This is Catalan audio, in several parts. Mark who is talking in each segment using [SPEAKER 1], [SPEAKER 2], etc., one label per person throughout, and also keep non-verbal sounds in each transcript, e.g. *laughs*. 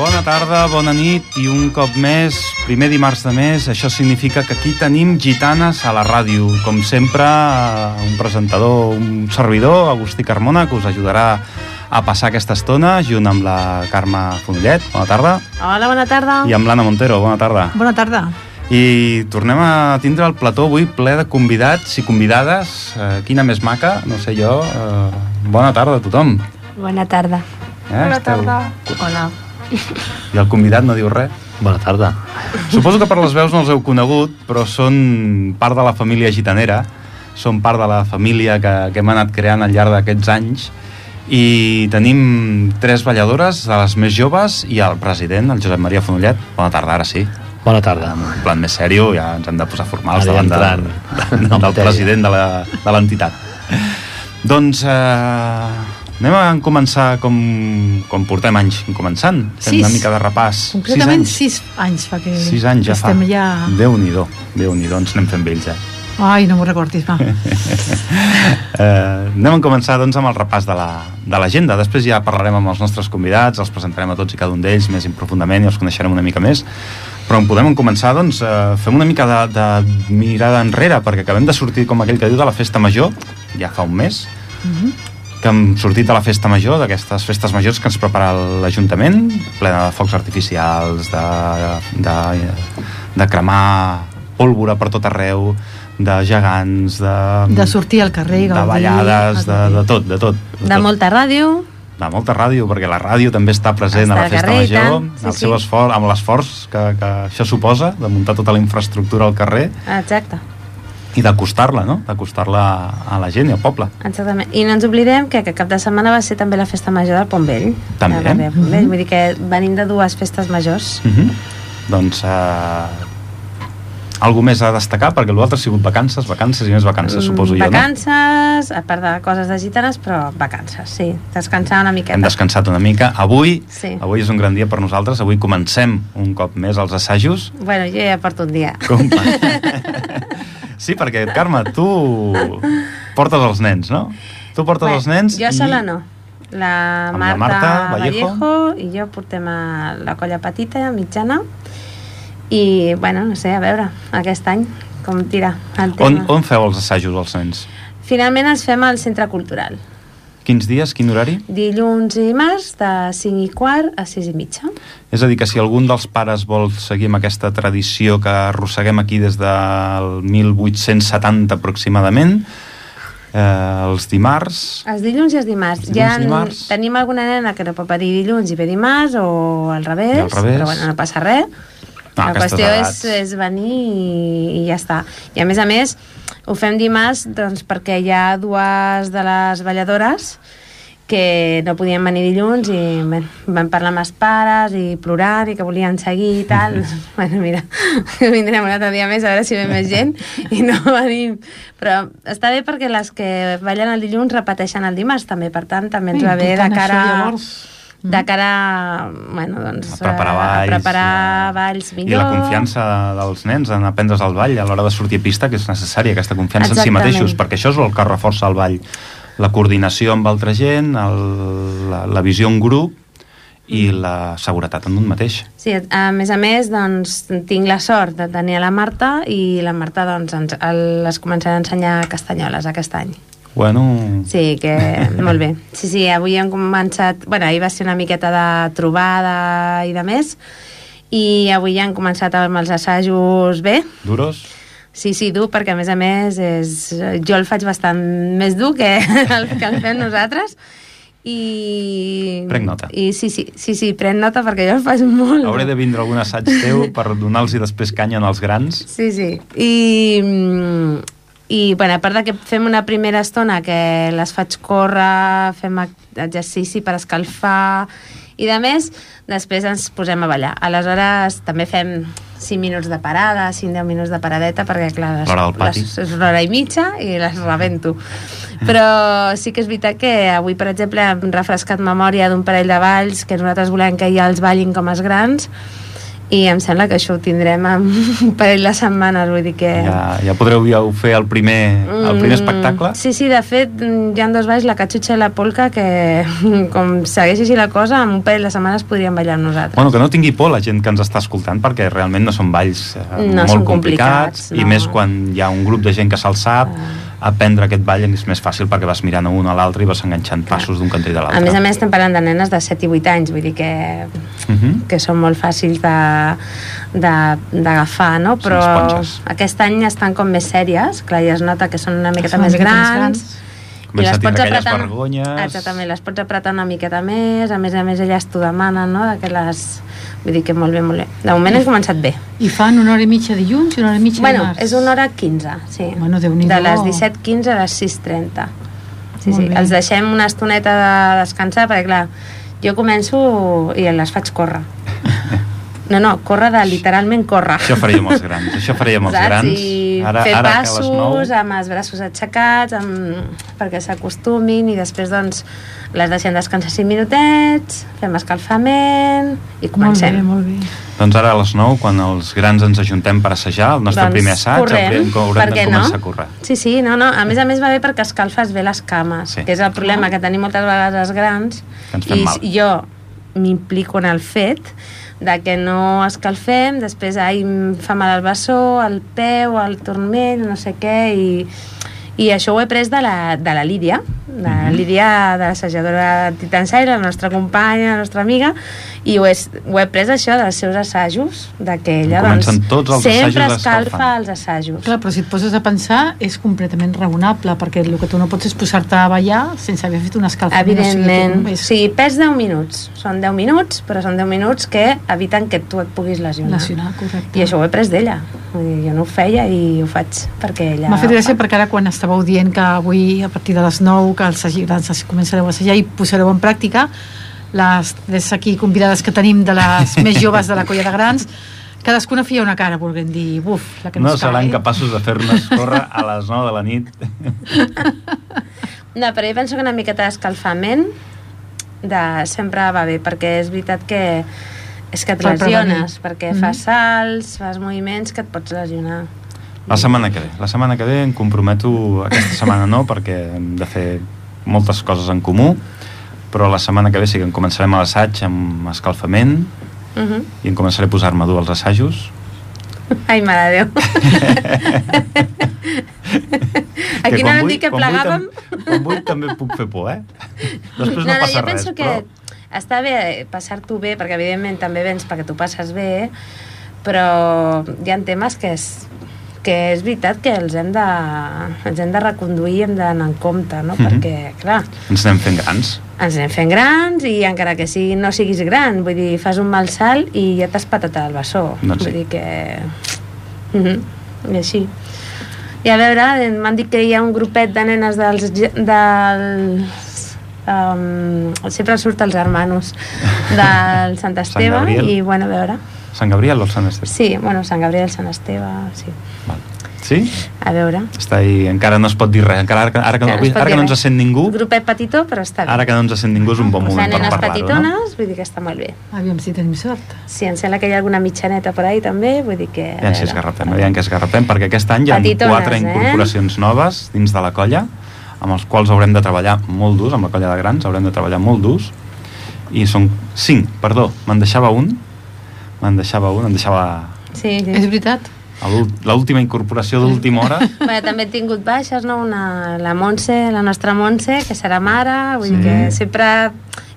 [SPEAKER 1] Bona tarda, bona nit i un cop més, primer dimarts de mes, això significa que aquí tenim gitanes a la ràdio. Com sempre, eh, un presentador, un servidor, Agustí Carmona, que us ajudarà a passar aquesta estona, junt amb la Carme Fonollet, bona tarda,
[SPEAKER 2] Hola, bona tarda.
[SPEAKER 1] i amb l'Anna Montero, bona tarda.
[SPEAKER 2] Bona tarda.
[SPEAKER 1] I tornem a tindre el plató avui ple de convidats i convidades. Eh, quina més maca, no sé jo. Eh, bona tarda a tothom.
[SPEAKER 3] Bona tarda.
[SPEAKER 1] Eh? Bona tarda.
[SPEAKER 2] Hola.
[SPEAKER 1] I el convidat no diu res.
[SPEAKER 4] Bona tarda.
[SPEAKER 1] Suposo que per les veus no els heu conegut, però són part de la família gitanera, són part de la família que, que hem anat creant al llarg d'aquests anys i tenim tres balladores, de les més joves, i el president, el Josep Maria Fonollet. Bona tarda, ara sí.
[SPEAKER 4] Bona tarda.
[SPEAKER 1] En plan més sèrio, ja ens hem de posar formals
[SPEAKER 4] Ara ja
[SPEAKER 1] davant de, *laughs*
[SPEAKER 4] entrant
[SPEAKER 1] del,
[SPEAKER 4] en
[SPEAKER 1] del
[SPEAKER 4] matèria.
[SPEAKER 1] president de la- de l'entitat. Doncs eh, anem a començar com, com portem anys començant, fent
[SPEAKER 2] Sis.
[SPEAKER 1] una mica de repàs.
[SPEAKER 2] Concretament
[SPEAKER 1] sis anys.
[SPEAKER 2] 6 anys fa que
[SPEAKER 1] Sis anys ja
[SPEAKER 2] estem
[SPEAKER 1] fa.
[SPEAKER 2] ja...
[SPEAKER 1] Déu-n'hi-do, Déu-n'hi-do, ens anem fent vells, eh?
[SPEAKER 2] Ai, no m'ho recordis,
[SPEAKER 1] *laughs*
[SPEAKER 2] va.
[SPEAKER 1] Eh, anem a començar doncs, amb el repàs de la- de l'agenda. La, Després ja parlarem amb els nostres convidats, els presentarem a tots i cada un d'ells més en profundament i els coneixerem una mica més. Però on podem començar, doncs, eh, fem una mica de, de mirada enrere, perquè acabem de sortir, com aquell que diu, de la festa major, ja fa un mes, que hem sortit de la festa major, d'aquestes festes majors que ens prepara l'Ajuntament, plena de focs artificials, de, de, de cremar pólvora per tot arreu, de gegants, de...
[SPEAKER 2] De sortir al carrer i
[SPEAKER 1] de
[SPEAKER 2] gaudir,
[SPEAKER 1] ballades, de,
[SPEAKER 2] gaudir.
[SPEAKER 1] de tot, de tot.
[SPEAKER 3] De
[SPEAKER 1] tot.
[SPEAKER 3] molta ràdio.
[SPEAKER 1] de molta ràdio, perquè la ràdio també està present
[SPEAKER 3] Està
[SPEAKER 1] a la
[SPEAKER 3] al
[SPEAKER 1] festa
[SPEAKER 3] carrer, i
[SPEAKER 1] major,
[SPEAKER 3] tant. Sí,
[SPEAKER 1] el
[SPEAKER 3] sí.
[SPEAKER 1] seu esforç, amb l'esforç que, que això suposa, de muntar tota la infraestructura al carrer
[SPEAKER 3] Exacte,
[SPEAKER 1] i d'acostar-la, no? D'acostar-la a la gent i al poble.
[SPEAKER 3] exactament. I no ens oblidem que aquest cap de setmana va ser també la festa major del Pont Vell.
[SPEAKER 1] També.
[SPEAKER 3] Del barri de Pont Vell. Vull dir que venim de dues festes majors.
[SPEAKER 1] Mhm. Doncs... Eh, Algú més a destacar? Perquè l'altre ha sigut vacances, vacances i més vacances, suposo
[SPEAKER 3] Mm,
[SPEAKER 1] jo, no?
[SPEAKER 3] Vacances, a part de coses de gitanes, però vacances, sí. Descansar una miqueta.
[SPEAKER 1] Hem descansat una mica. Avui,
[SPEAKER 3] Sí.
[SPEAKER 1] avui és un gran dia per nosaltres. Avui comencem un cop més els assajos.
[SPEAKER 3] Bueno, jo ja porto un dia. *laughs*
[SPEAKER 1] Compa. Sí, perquè, Carme, tu portes els nens, no? Tu portes
[SPEAKER 3] Bé,
[SPEAKER 1] els nens
[SPEAKER 3] Jo
[SPEAKER 1] i...
[SPEAKER 3] sola no. La
[SPEAKER 1] Amb
[SPEAKER 3] Marta,
[SPEAKER 1] la Marta Vallejo.
[SPEAKER 3] i jo portem a la colla petita, mitjana, i, bueno, no sé, a veure, aquest any, com tira
[SPEAKER 1] On,
[SPEAKER 3] el tema.
[SPEAKER 1] on feu els assajos, els nens?
[SPEAKER 3] Finalment els fem al Centre Cultural.
[SPEAKER 1] Quins dies, quin horari?
[SPEAKER 3] Dilluns i març de 5 i quart a 6 i mitja.
[SPEAKER 1] És a dir, que si algun dels pares vol seguir amb aquesta tradició que arrosseguem aquí des del 1870 aproximadament, eh, els dimarts...
[SPEAKER 3] Els dilluns i els dimarts.
[SPEAKER 1] Els dilluns
[SPEAKER 3] ja
[SPEAKER 1] i dimarts.
[SPEAKER 3] tenim alguna nena que no pot venir dilluns i ve dimarts o al revés,
[SPEAKER 1] I al revés.
[SPEAKER 3] però bueno, no passa res.
[SPEAKER 1] No,
[SPEAKER 3] la
[SPEAKER 1] aquestes
[SPEAKER 3] qüestió és,
[SPEAKER 1] edats.
[SPEAKER 3] és venir i, i ja està. I a més a més, ho fem dimarts doncs, perquè hi ha dues de les balladores que no podien venir dilluns i bé, van parlar amb els pares i plorant i que volien seguir i
[SPEAKER 1] *laughs*
[SPEAKER 3] tal. bueno, mira, *laughs* vindrem un altre dia més a veure si ve més gent i no venim. Però està bé perquè les que ballen el dilluns repeteixen el dimarts també, per tant, també ens va bé de
[SPEAKER 2] Important, això,
[SPEAKER 3] cara...
[SPEAKER 2] llavors.
[SPEAKER 3] de cara bueno, doncs,
[SPEAKER 1] Mm. A preparar
[SPEAKER 3] eh,
[SPEAKER 1] balls,
[SPEAKER 3] a preparar
[SPEAKER 1] eh,
[SPEAKER 3] balls
[SPEAKER 1] I
[SPEAKER 3] millor.
[SPEAKER 1] la confiança dels nens en aprendre's el ball a l'hora de sortir a pista, que és necessària aquesta confiança en si
[SPEAKER 3] Exactament.
[SPEAKER 1] mateixos, perquè això és el que reforça el ball. La coordinació amb altra gent, el, la, la visió en grup i
[SPEAKER 3] Mm.
[SPEAKER 1] la seguretat en un mateix.
[SPEAKER 3] Sí, a més a més, doncs, tinc la sort de tenir a la Marta i la Marta doncs, ens, el- les començarà a ensenyar castanyoles aquest any.
[SPEAKER 1] Bueno,
[SPEAKER 3] Sí,
[SPEAKER 1] *laughs*
[SPEAKER 3] que molt bé. Sí, sí, avui hem començat... bueno, ahir va ser una miqueta de trobada i de més, i avui ja han començat amb els assajos bé.
[SPEAKER 1] duros?
[SPEAKER 3] Sí, sí, dur, perquè a més a més és, jo el faig bastant més dur que *laughs* el que el fem nosaltres. I...
[SPEAKER 1] Prenc nota.
[SPEAKER 3] I sí, sí, sí, sí, prenc nota perquè jo el faig molt.
[SPEAKER 1] Hauré de vindre algun assaig teu per donar-los després canya als grans.
[SPEAKER 3] Sí, sí. I, mm, i bueno, a part de que fem una primera estona que les faig córrer, fem ac- exercici per escalfar i de més, després ens posem a ballar. Aleshores també fem 5 minuts de parada, 5-10 minuts de paradeta, perquè clar, les,
[SPEAKER 1] L'hora del pati.
[SPEAKER 3] les, és una hora i mitja i les rebento. Però sí que és veritat que avui, per exemple, hem refrescat memòria d'un parell de balls que nosaltres volem que ja els ballin com els grans i em sembla que això ho tindrem en un parell de setmanes, vull dir que...
[SPEAKER 1] Ja, ja podreu ja ho fer el primer, el primer
[SPEAKER 3] Mm,
[SPEAKER 1] espectacle.
[SPEAKER 3] Sí, sí, de fet, mm, hi ha dos balls, la catxutxa i la polca, que *laughs* com segueix així la cosa, en un parell de setmanes podríem ballar amb nosaltres.
[SPEAKER 1] Bueno, que no tingui por la gent que ens està escoltant perquè realment no són balls eh,
[SPEAKER 3] No
[SPEAKER 1] molt
[SPEAKER 3] són complicats,
[SPEAKER 1] i
[SPEAKER 3] no. Ah.
[SPEAKER 1] més quan hi ha un grup de gent que se'l sap aprendre aquest ball és més fàcil perquè vas mirant a un a l'altre i vas enganxant passos d'un cantó i de l'altre.
[SPEAKER 3] a més a més, estem parlant de nenes de 7 i 8 anys, vull dir que,
[SPEAKER 1] Mhm.
[SPEAKER 3] que són molt fàcils de- de- d'agafar, no?
[SPEAKER 1] Són
[SPEAKER 3] Però
[SPEAKER 1] esponges.
[SPEAKER 3] aquest any estan com més sèries, clar, ja es nota que són una miqueta
[SPEAKER 2] Són una
[SPEAKER 3] més
[SPEAKER 2] miqueta més
[SPEAKER 3] grans,
[SPEAKER 2] grans.
[SPEAKER 1] Comença
[SPEAKER 3] I
[SPEAKER 1] a
[SPEAKER 3] les
[SPEAKER 1] tindre
[SPEAKER 3] pots
[SPEAKER 1] aquelles
[SPEAKER 3] apretar...
[SPEAKER 1] vergonyes.
[SPEAKER 3] Exactament, les pots apretar una miqueta més, a més a més elles t'ho demanen, no?, de que les... Vull dir que molt bé, molt bé. De moment hem començat bé.
[SPEAKER 2] I fan una hora i mitja dilluns i una hora i mitja
[SPEAKER 3] Bueno,
[SPEAKER 2] dimarts.
[SPEAKER 3] és una hora 15, sí.
[SPEAKER 2] Bueno, Déu-n'hi-do.
[SPEAKER 3] De les 17.15 a les 6.30. Sí,
[SPEAKER 2] Molt
[SPEAKER 3] sí.
[SPEAKER 2] bé.
[SPEAKER 3] Els deixem una estoneta de descansar, perquè clar, jo començo i les faig córrer. No, no, córrer de literalment córrer.
[SPEAKER 1] Això faré jo amb els grans, això faré jo amb els
[SPEAKER 3] Saps?
[SPEAKER 1] grans.
[SPEAKER 3] I
[SPEAKER 1] Ara,
[SPEAKER 3] fer
[SPEAKER 1] ara que a
[SPEAKER 3] passos
[SPEAKER 1] les 9...
[SPEAKER 3] amb els braços aixecats amb... perquè s'acostumin i després doncs les deixem descansar 5 minutets, fem escalfament i comencem.
[SPEAKER 2] Molt bé, molt bé.
[SPEAKER 1] Doncs ara a les 9, quan els grans ens ajuntem per assajar, el nostre
[SPEAKER 3] Doncs
[SPEAKER 1] primer assaig,
[SPEAKER 3] correm,
[SPEAKER 1] haurem,
[SPEAKER 3] per
[SPEAKER 1] haurem de
[SPEAKER 3] què
[SPEAKER 1] començar
[SPEAKER 3] no?
[SPEAKER 1] a córrer.
[SPEAKER 3] Sí, sí, no, no. A més a més va bé perquè escalfes bé les cames,
[SPEAKER 1] Sí.
[SPEAKER 3] sí. que és el problema que tenim moltes vegades els grans.
[SPEAKER 1] Que ens fem
[SPEAKER 3] I
[SPEAKER 1] mal.
[SPEAKER 3] jo m'implico en el fet de que no escalfem, després ai, em fa mal el bessó, el peu, el turmell, no sé què, i, i això ho he pres de la, de la Lídia, de la
[SPEAKER 1] Mhm.
[SPEAKER 3] Lídia, de l'assajadora Titansaire, la nostra companya, la nostra amiga, i ho he, ho he pres això dels seus assajos, de que ella doncs,
[SPEAKER 1] Comencen tots els
[SPEAKER 3] sempre
[SPEAKER 1] assajos
[SPEAKER 3] escalfa
[SPEAKER 1] escalfant.
[SPEAKER 3] els assajos.
[SPEAKER 2] Clar, però si et poses a pensar és completament raonable, perquè el que tu no pots és posar-te a ballar sense haver fet un escalfament.
[SPEAKER 3] Evidentment.
[SPEAKER 2] O
[SPEAKER 3] O
[SPEAKER 2] sigui,
[SPEAKER 3] sigui, pes 10 minuts. Són 10 minuts, però són 10 minuts que eviten que tu et puguis
[SPEAKER 2] tu és
[SPEAKER 3] lesionar.
[SPEAKER 2] nacional, correcte.
[SPEAKER 3] I això ho he pres d'ella. Vull dir, Jo no ho feia i ho faig perquè ella...
[SPEAKER 2] M'ha fet gràcia
[SPEAKER 3] ho fa.
[SPEAKER 2] perquè ara quan estàveu dient que avui a partir de les 9 que els grans es començareu a assajar i posareu en pràctica les tres aquí convidades que tenim de
[SPEAKER 1] *laughs*
[SPEAKER 2] les més joves de la colla de grans cadascuna feia una cara, volguem dir buf, la que no,
[SPEAKER 1] No
[SPEAKER 2] ens
[SPEAKER 1] seran
[SPEAKER 2] cal, eh?
[SPEAKER 1] capaços de *laughs* fer-nos córrer a les 9 de la nit.
[SPEAKER 3] No, però jo penso que una miqueta d'escalfament de... sempre va bé, perquè és veritat que és que et
[SPEAKER 2] Per prevenir.
[SPEAKER 3] lesiones, perquè
[SPEAKER 2] Mhm.
[SPEAKER 3] fas salts, fas moviments que et pots lesionar.
[SPEAKER 1] La setmana que ve. La setmana que ve em comprometo, aquesta setmana no, perquè hem de fer moltes coses en comú, però la setmana que ve sí que en començarem a l'assaig amb escalfament
[SPEAKER 3] Uh -huh.
[SPEAKER 1] i em començaré a posar-me dur als assajos.
[SPEAKER 3] Ai, mare
[SPEAKER 1] *laughs*
[SPEAKER 3] de Déu.
[SPEAKER 1] Que
[SPEAKER 3] Aquí
[SPEAKER 1] quan
[SPEAKER 3] anàvem a
[SPEAKER 1] vull-
[SPEAKER 3] dir que
[SPEAKER 1] quan vull tam-
[SPEAKER 3] plegàvem...
[SPEAKER 1] Quan vull també puc fer por,
[SPEAKER 3] *laughs*
[SPEAKER 1] eh? Després no, passa
[SPEAKER 3] jo
[SPEAKER 1] res,
[SPEAKER 3] penso que
[SPEAKER 1] però...
[SPEAKER 3] està bé passar-t'ho bé, perquè evidentment també vens perquè t'ho passes bé, però hi ha temes que és, que és veritat que els hem de, els hem de reconduir i hem d'anar en compte, no?
[SPEAKER 1] Mhm.
[SPEAKER 3] Perquè, clar,
[SPEAKER 1] Ens anem fent grans.
[SPEAKER 3] ens anem fent grans i encara que sigui, no siguis gran, vull dir, fas un mal salt i ja t'has patat al bessó.
[SPEAKER 1] Doncs sí.
[SPEAKER 3] Vull dir que... Mm I així. I a veure, eh, m'han dit que hi ha un grupet de nenes dels... ge- dels um, sempre surt els
[SPEAKER 1] *laughs*
[SPEAKER 3] hermanos del Sant Esteve
[SPEAKER 1] Gabriel.
[SPEAKER 3] i bueno, a veure
[SPEAKER 1] Sant Gabriel o Sant Esteve?
[SPEAKER 3] sí, bueno, Sant Gabriel, Sant Esteve sí.
[SPEAKER 1] Val. Sí?
[SPEAKER 3] a veure
[SPEAKER 1] Està ahí, encara no es pot dir res. Encara, ara, que- ara, que,
[SPEAKER 3] Encara no es
[SPEAKER 1] no,
[SPEAKER 3] pot
[SPEAKER 1] ara
[SPEAKER 3] dir
[SPEAKER 1] que no
[SPEAKER 3] res.
[SPEAKER 1] ens sent ningú,
[SPEAKER 3] grupet petitó però està bé
[SPEAKER 1] ara que no ens sent ningú és un bon
[SPEAKER 3] Doncs de
[SPEAKER 1] moment per
[SPEAKER 3] nenes
[SPEAKER 1] parlar-ho, no?
[SPEAKER 3] petitones, vull dir que està molt bé
[SPEAKER 2] Aviam si tenim sort.
[SPEAKER 3] Sí, em sembla que hi ha alguna mitjaneta per ahí també, vull dir que... a
[SPEAKER 1] Aviam si
[SPEAKER 3] veure.
[SPEAKER 1] esgarrapem, aviam que esgarrapem, perquè aquest any hi ha
[SPEAKER 3] eh? Petitones,
[SPEAKER 1] quatre
[SPEAKER 3] eh?
[SPEAKER 1] incorporacions noves dins de la colla, amb els quals haurem de treballar molt durs, amb la colla de grans haurem de treballar molt durs, i són cinc, perdó, me'n deixava un, me'n deixava un, em deixava
[SPEAKER 3] Sí, sí.
[SPEAKER 2] És
[SPEAKER 3] *laughs*
[SPEAKER 2] veritat?
[SPEAKER 1] a l'ult- l'última incorporació d'última hora,
[SPEAKER 3] Bueno, també he tingut baixes, no? Una, la Montse, la nostra Montse, que serà mare, vull dir
[SPEAKER 1] Sí.
[SPEAKER 3] que sempre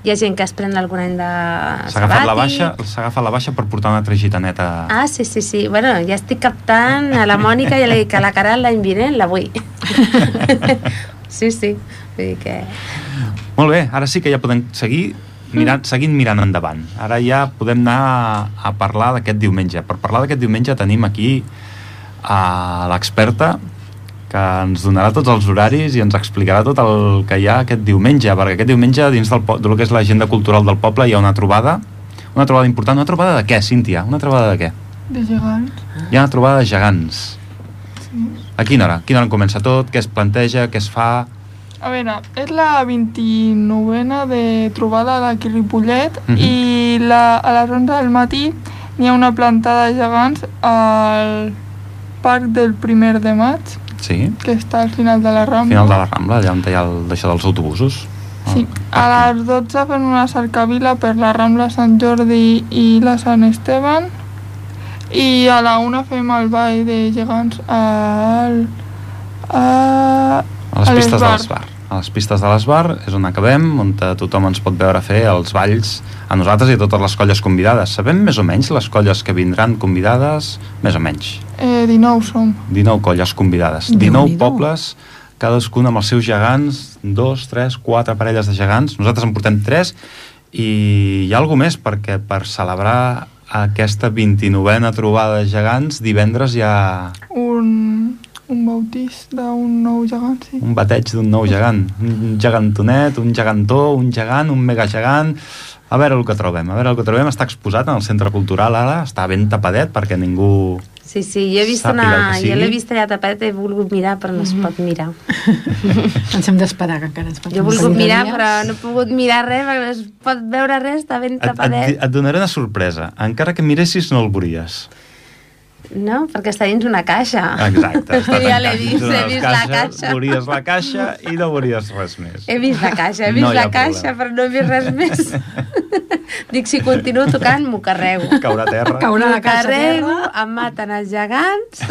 [SPEAKER 3] hi ha gent que es pren algun any de
[SPEAKER 1] s'ha agafat la
[SPEAKER 3] sabàtic.
[SPEAKER 1] baixa, s'ha agafat la baixa per portar una altra gitaneta.
[SPEAKER 3] Ah, sí, sí, sí. Bueno, ja estic captant a la Mònica i ja li dic que la Caral l'any vinent
[SPEAKER 1] *laughs*
[SPEAKER 3] la vull. sí, sí. Vull dir que...
[SPEAKER 1] Molt bé, ara sí que ja podem seguir mirant, seguint mirant endavant. Ara ja podem anar a parlar d'aquest diumenge. Per parlar d'aquest diumenge tenim aquí a l'experta que ens donarà tots els horaris i ens explicarà tot el que hi ha aquest diumenge, perquè aquest diumenge dins del, po- del que és l'agenda cultural del poble hi ha una trobada, una trobada important, una trobada de què, Cíntia? Una trobada de què?
[SPEAKER 4] De gegants.
[SPEAKER 1] Hi ha una trobada de gegants. A quina hora? A quina hora comença tot? Què es planteja? Què es fa?
[SPEAKER 4] A veure, és la 29a de trobada d'aquí a Ripollet
[SPEAKER 1] Mhm.
[SPEAKER 4] i la, a les 11 del matí Hi ha una plantada de gegants al parc del primer de maig,
[SPEAKER 1] Sí,
[SPEAKER 4] que està al final de la
[SPEAKER 1] al
[SPEAKER 4] Rambla.
[SPEAKER 1] final de la Rambla, allà on hi ha el, això dels autobusos.
[SPEAKER 4] Sí, a
[SPEAKER 1] Ah.
[SPEAKER 4] les 12 fan una cercavila per la Rambla Sant Jordi i la Sant Esteban i a la 1 fem el ball de gegants al, a,
[SPEAKER 1] A les
[SPEAKER 4] a
[SPEAKER 1] pistes de
[SPEAKER 4] l'Esbar.
[SPEAKER 1] l'Esbar. A les pistes de l'Esbar és on acabem, on eh, tothom ens pot veure fer els balls a nosaltres i a totes les colles convidades. Sabem més o menys les colles que vindran convidades? Més o menys.
[SPEAKER 4] Eh, 19 som.
[SPEAKER 1] 19 colles convidades.
[SPEAKER 2] Déu-n'hi-do.
[SPEAKER 1] 19 pobles, cadascun amb els seus gegants, dos, tres, quatre parelles de gegants. Nosaltres en portem tres i hi ha alguna més perquè per celebrar aquesta 29a trobada de gegants, divendres hi ha
[SPEAKER 4] Un, un bautís d'un nou gegant, sí.
[SPEAKER 1] un bateig d'un nou gegant. Un gegantonet, un gegantó, un gegant, un megagegant... A veure el que trobem. A veure el que trobem. Està exposat en el Centre Cultural ara, està ben tapadet perquè ningú...
[SPEAKER 3] Sí, sí, jo he vist
[SPEAKER 1] Sàpiga
[SPEAKER 3] una...
[SPEAKER 1] el que
[SPEAKER 3] Jo l'he
[SPEAKER 1] sigui.
[SPEAKER 3] vist allà tapat i he volgut mirar, però no es pot mirar.
[SPEAKER 2] Ens hem d'esperar que encara ens
[SPEAKER 3] Jo he
[SPEAKER 2] un
[SPEAKER 3] volgut
[SPEAKER 2] parell de
[SPEAKER 3] mirar,
[SPEAKER 2] dies.
[SPEAKER 3] però no he pogut mirar res, perquè no es pot veure res, està ben
[SPEAKER 1] Et, et, di-
[SPEAKER 3] tapadet.
[SPEAKER 1] et donaré una sorpresa. Encara que miressis no el veuries.
[SPEAKER 3] No, perquè està dins una caixa. *laughs*
[SPEAKER 1] Exacte. està
[SPEAKER 3] Ah. ja
[SPEAKER 1] tancat
[SPEAKER 3] l'he
[SPEAKER 1] dins
[SPEAKER 3] vist,
[SPEAKER 1] d'una
[SPEAKER 3] he
[SPEAKER 1] de les
[SPEAKER 3] vist la
[SPEAKER 1] caixes,
[SPEAKER 3] caixa. Eh.
[SPEAKER 1] Veuries la caixa i no veuries res més.
[SPEAKER 3] He vist la caixa, he
[SPEAKER 1] No
[SPEAKER 3] vist
[SPEAKER 1] hi ha
[SPEAKER 3] la caixa,
[SPEAKER 1] problema.
[SPEAKER 3] però no he vist res
[SPEAKER 1] *laughs*
[SPEAKER 3] més. Dic, si continuo tocant, m'ho carrego.
[SPEAKER 1] Caurà a terra.
[SPEAKER 2] Caurà la
[SPEAKER 3] M'ho
[SPEAKER 2] caixa a
[SPEAKER 3] carrego,
[SPEAKER 2] terra.
[SPEAKER 3] em maten els gegants,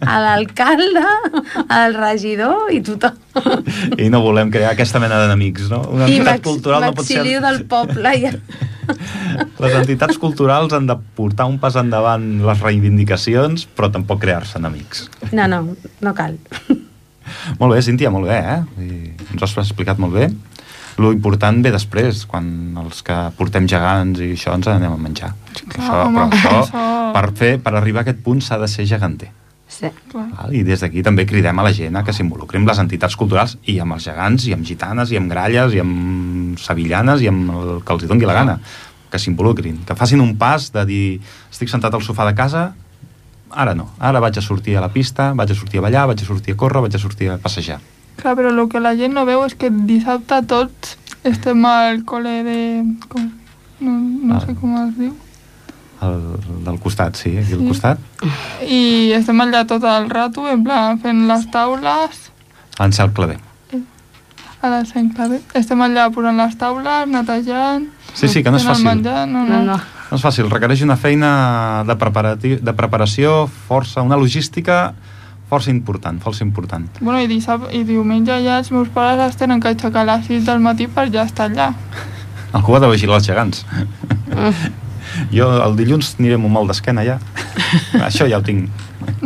[SPEAKER 3] a l'alcalde, al regidor i tothom.
[SPEAKER 1] I no volem crear aquesta mena d'enemics, no? Una
[SPEAKER 3] I
[SPEAKER 1] entitat
[SPEAKER 3] m'ex-
[SPEAKER 1] cultural no pot ser...
[SPEAKER 3] m'exilio del poble.
[SPEAKER 1] *laughs*
[SPEAKER 3] Ja.
[SPEAKER 1] Les entitats culturals han de portar un pas endavant les reivindicacions, però tampoc crear-se enemics.
[SPEAKER 3] No, no, no cal.
[SPEAKER 1] Molt bé, Cíntia, molt bé, eh? Vull dir, Ens ho has explicat molt bé. Lo important ve després, quan els que portem gegants i això ens anem a menjar.
[SPEAKER 4] clar,
[SPEAKER 1] això,
[SPEAKER 4] home,
[SPEAKER 1] però això,
[SPEAKER 4] això-
[SPEAKER 1] per, fer, per arribar a aquest punt s'ha de ser geganter.
[SPEAKER 3] Sí.
[SPEAKER 4] Clar.
[SPEAKER 1] Val? I des d'aquí també cridem a la gent a que s'involucri amb les entitats culturals i amb els gegants, i amb gitanes, i amb gralles, i amb sevillanes, i amb el que els hi doni la gana. Que s'involucrin, que facin un pas de dir estic sentat al sofà de casa, ara no, ara vaig a sortir a la pista, vaig a sortir a ballar, vaig a sortir a córrer, vaig a sortir a passejar.
[SPEAKER 4] Clar, però el que la gent no veu és que dissabte tots estem al col·le de... Com, no, no
[SPEAKER 1] Ah.
[SPEAKER 4] sé com es diu.
[SPEAKER 1] El, del costat, sí, aquí al
[SPEAKER 4] Sí.
[SPEAKER 1] costat.
[SPEAKER 4] I estem allà tot el rato, en plan, fent les taules,
[SPEAKER 1] L'Ancel Clavé.
[SPEAKER 4] a la Sant Clavé. Estem allà posant les taules, netejant...
[SPEAKER 1] Sí, sí, que no és
[SPEAKER 4] fent el
[SPEAKER 1] fàcil.
[SPEAKER 4] Menjar, no,
[SPEAKER 3] No, no.
[SPEAKER 1] No és fàcil, requereix una feina de, preparati- de preparació, força, una logística força important, força important.
[SPEAKER 4] Bueno, i, dissab... i diumenge ja els meus pares es tenen que aixecar a les 6 del matí per ja estar allà.
[SPEAKER 1] Algú ha de vigilar els gegants. Jo el dilluns aniré amb un mal d'esquena ja. Això ja ho tinc.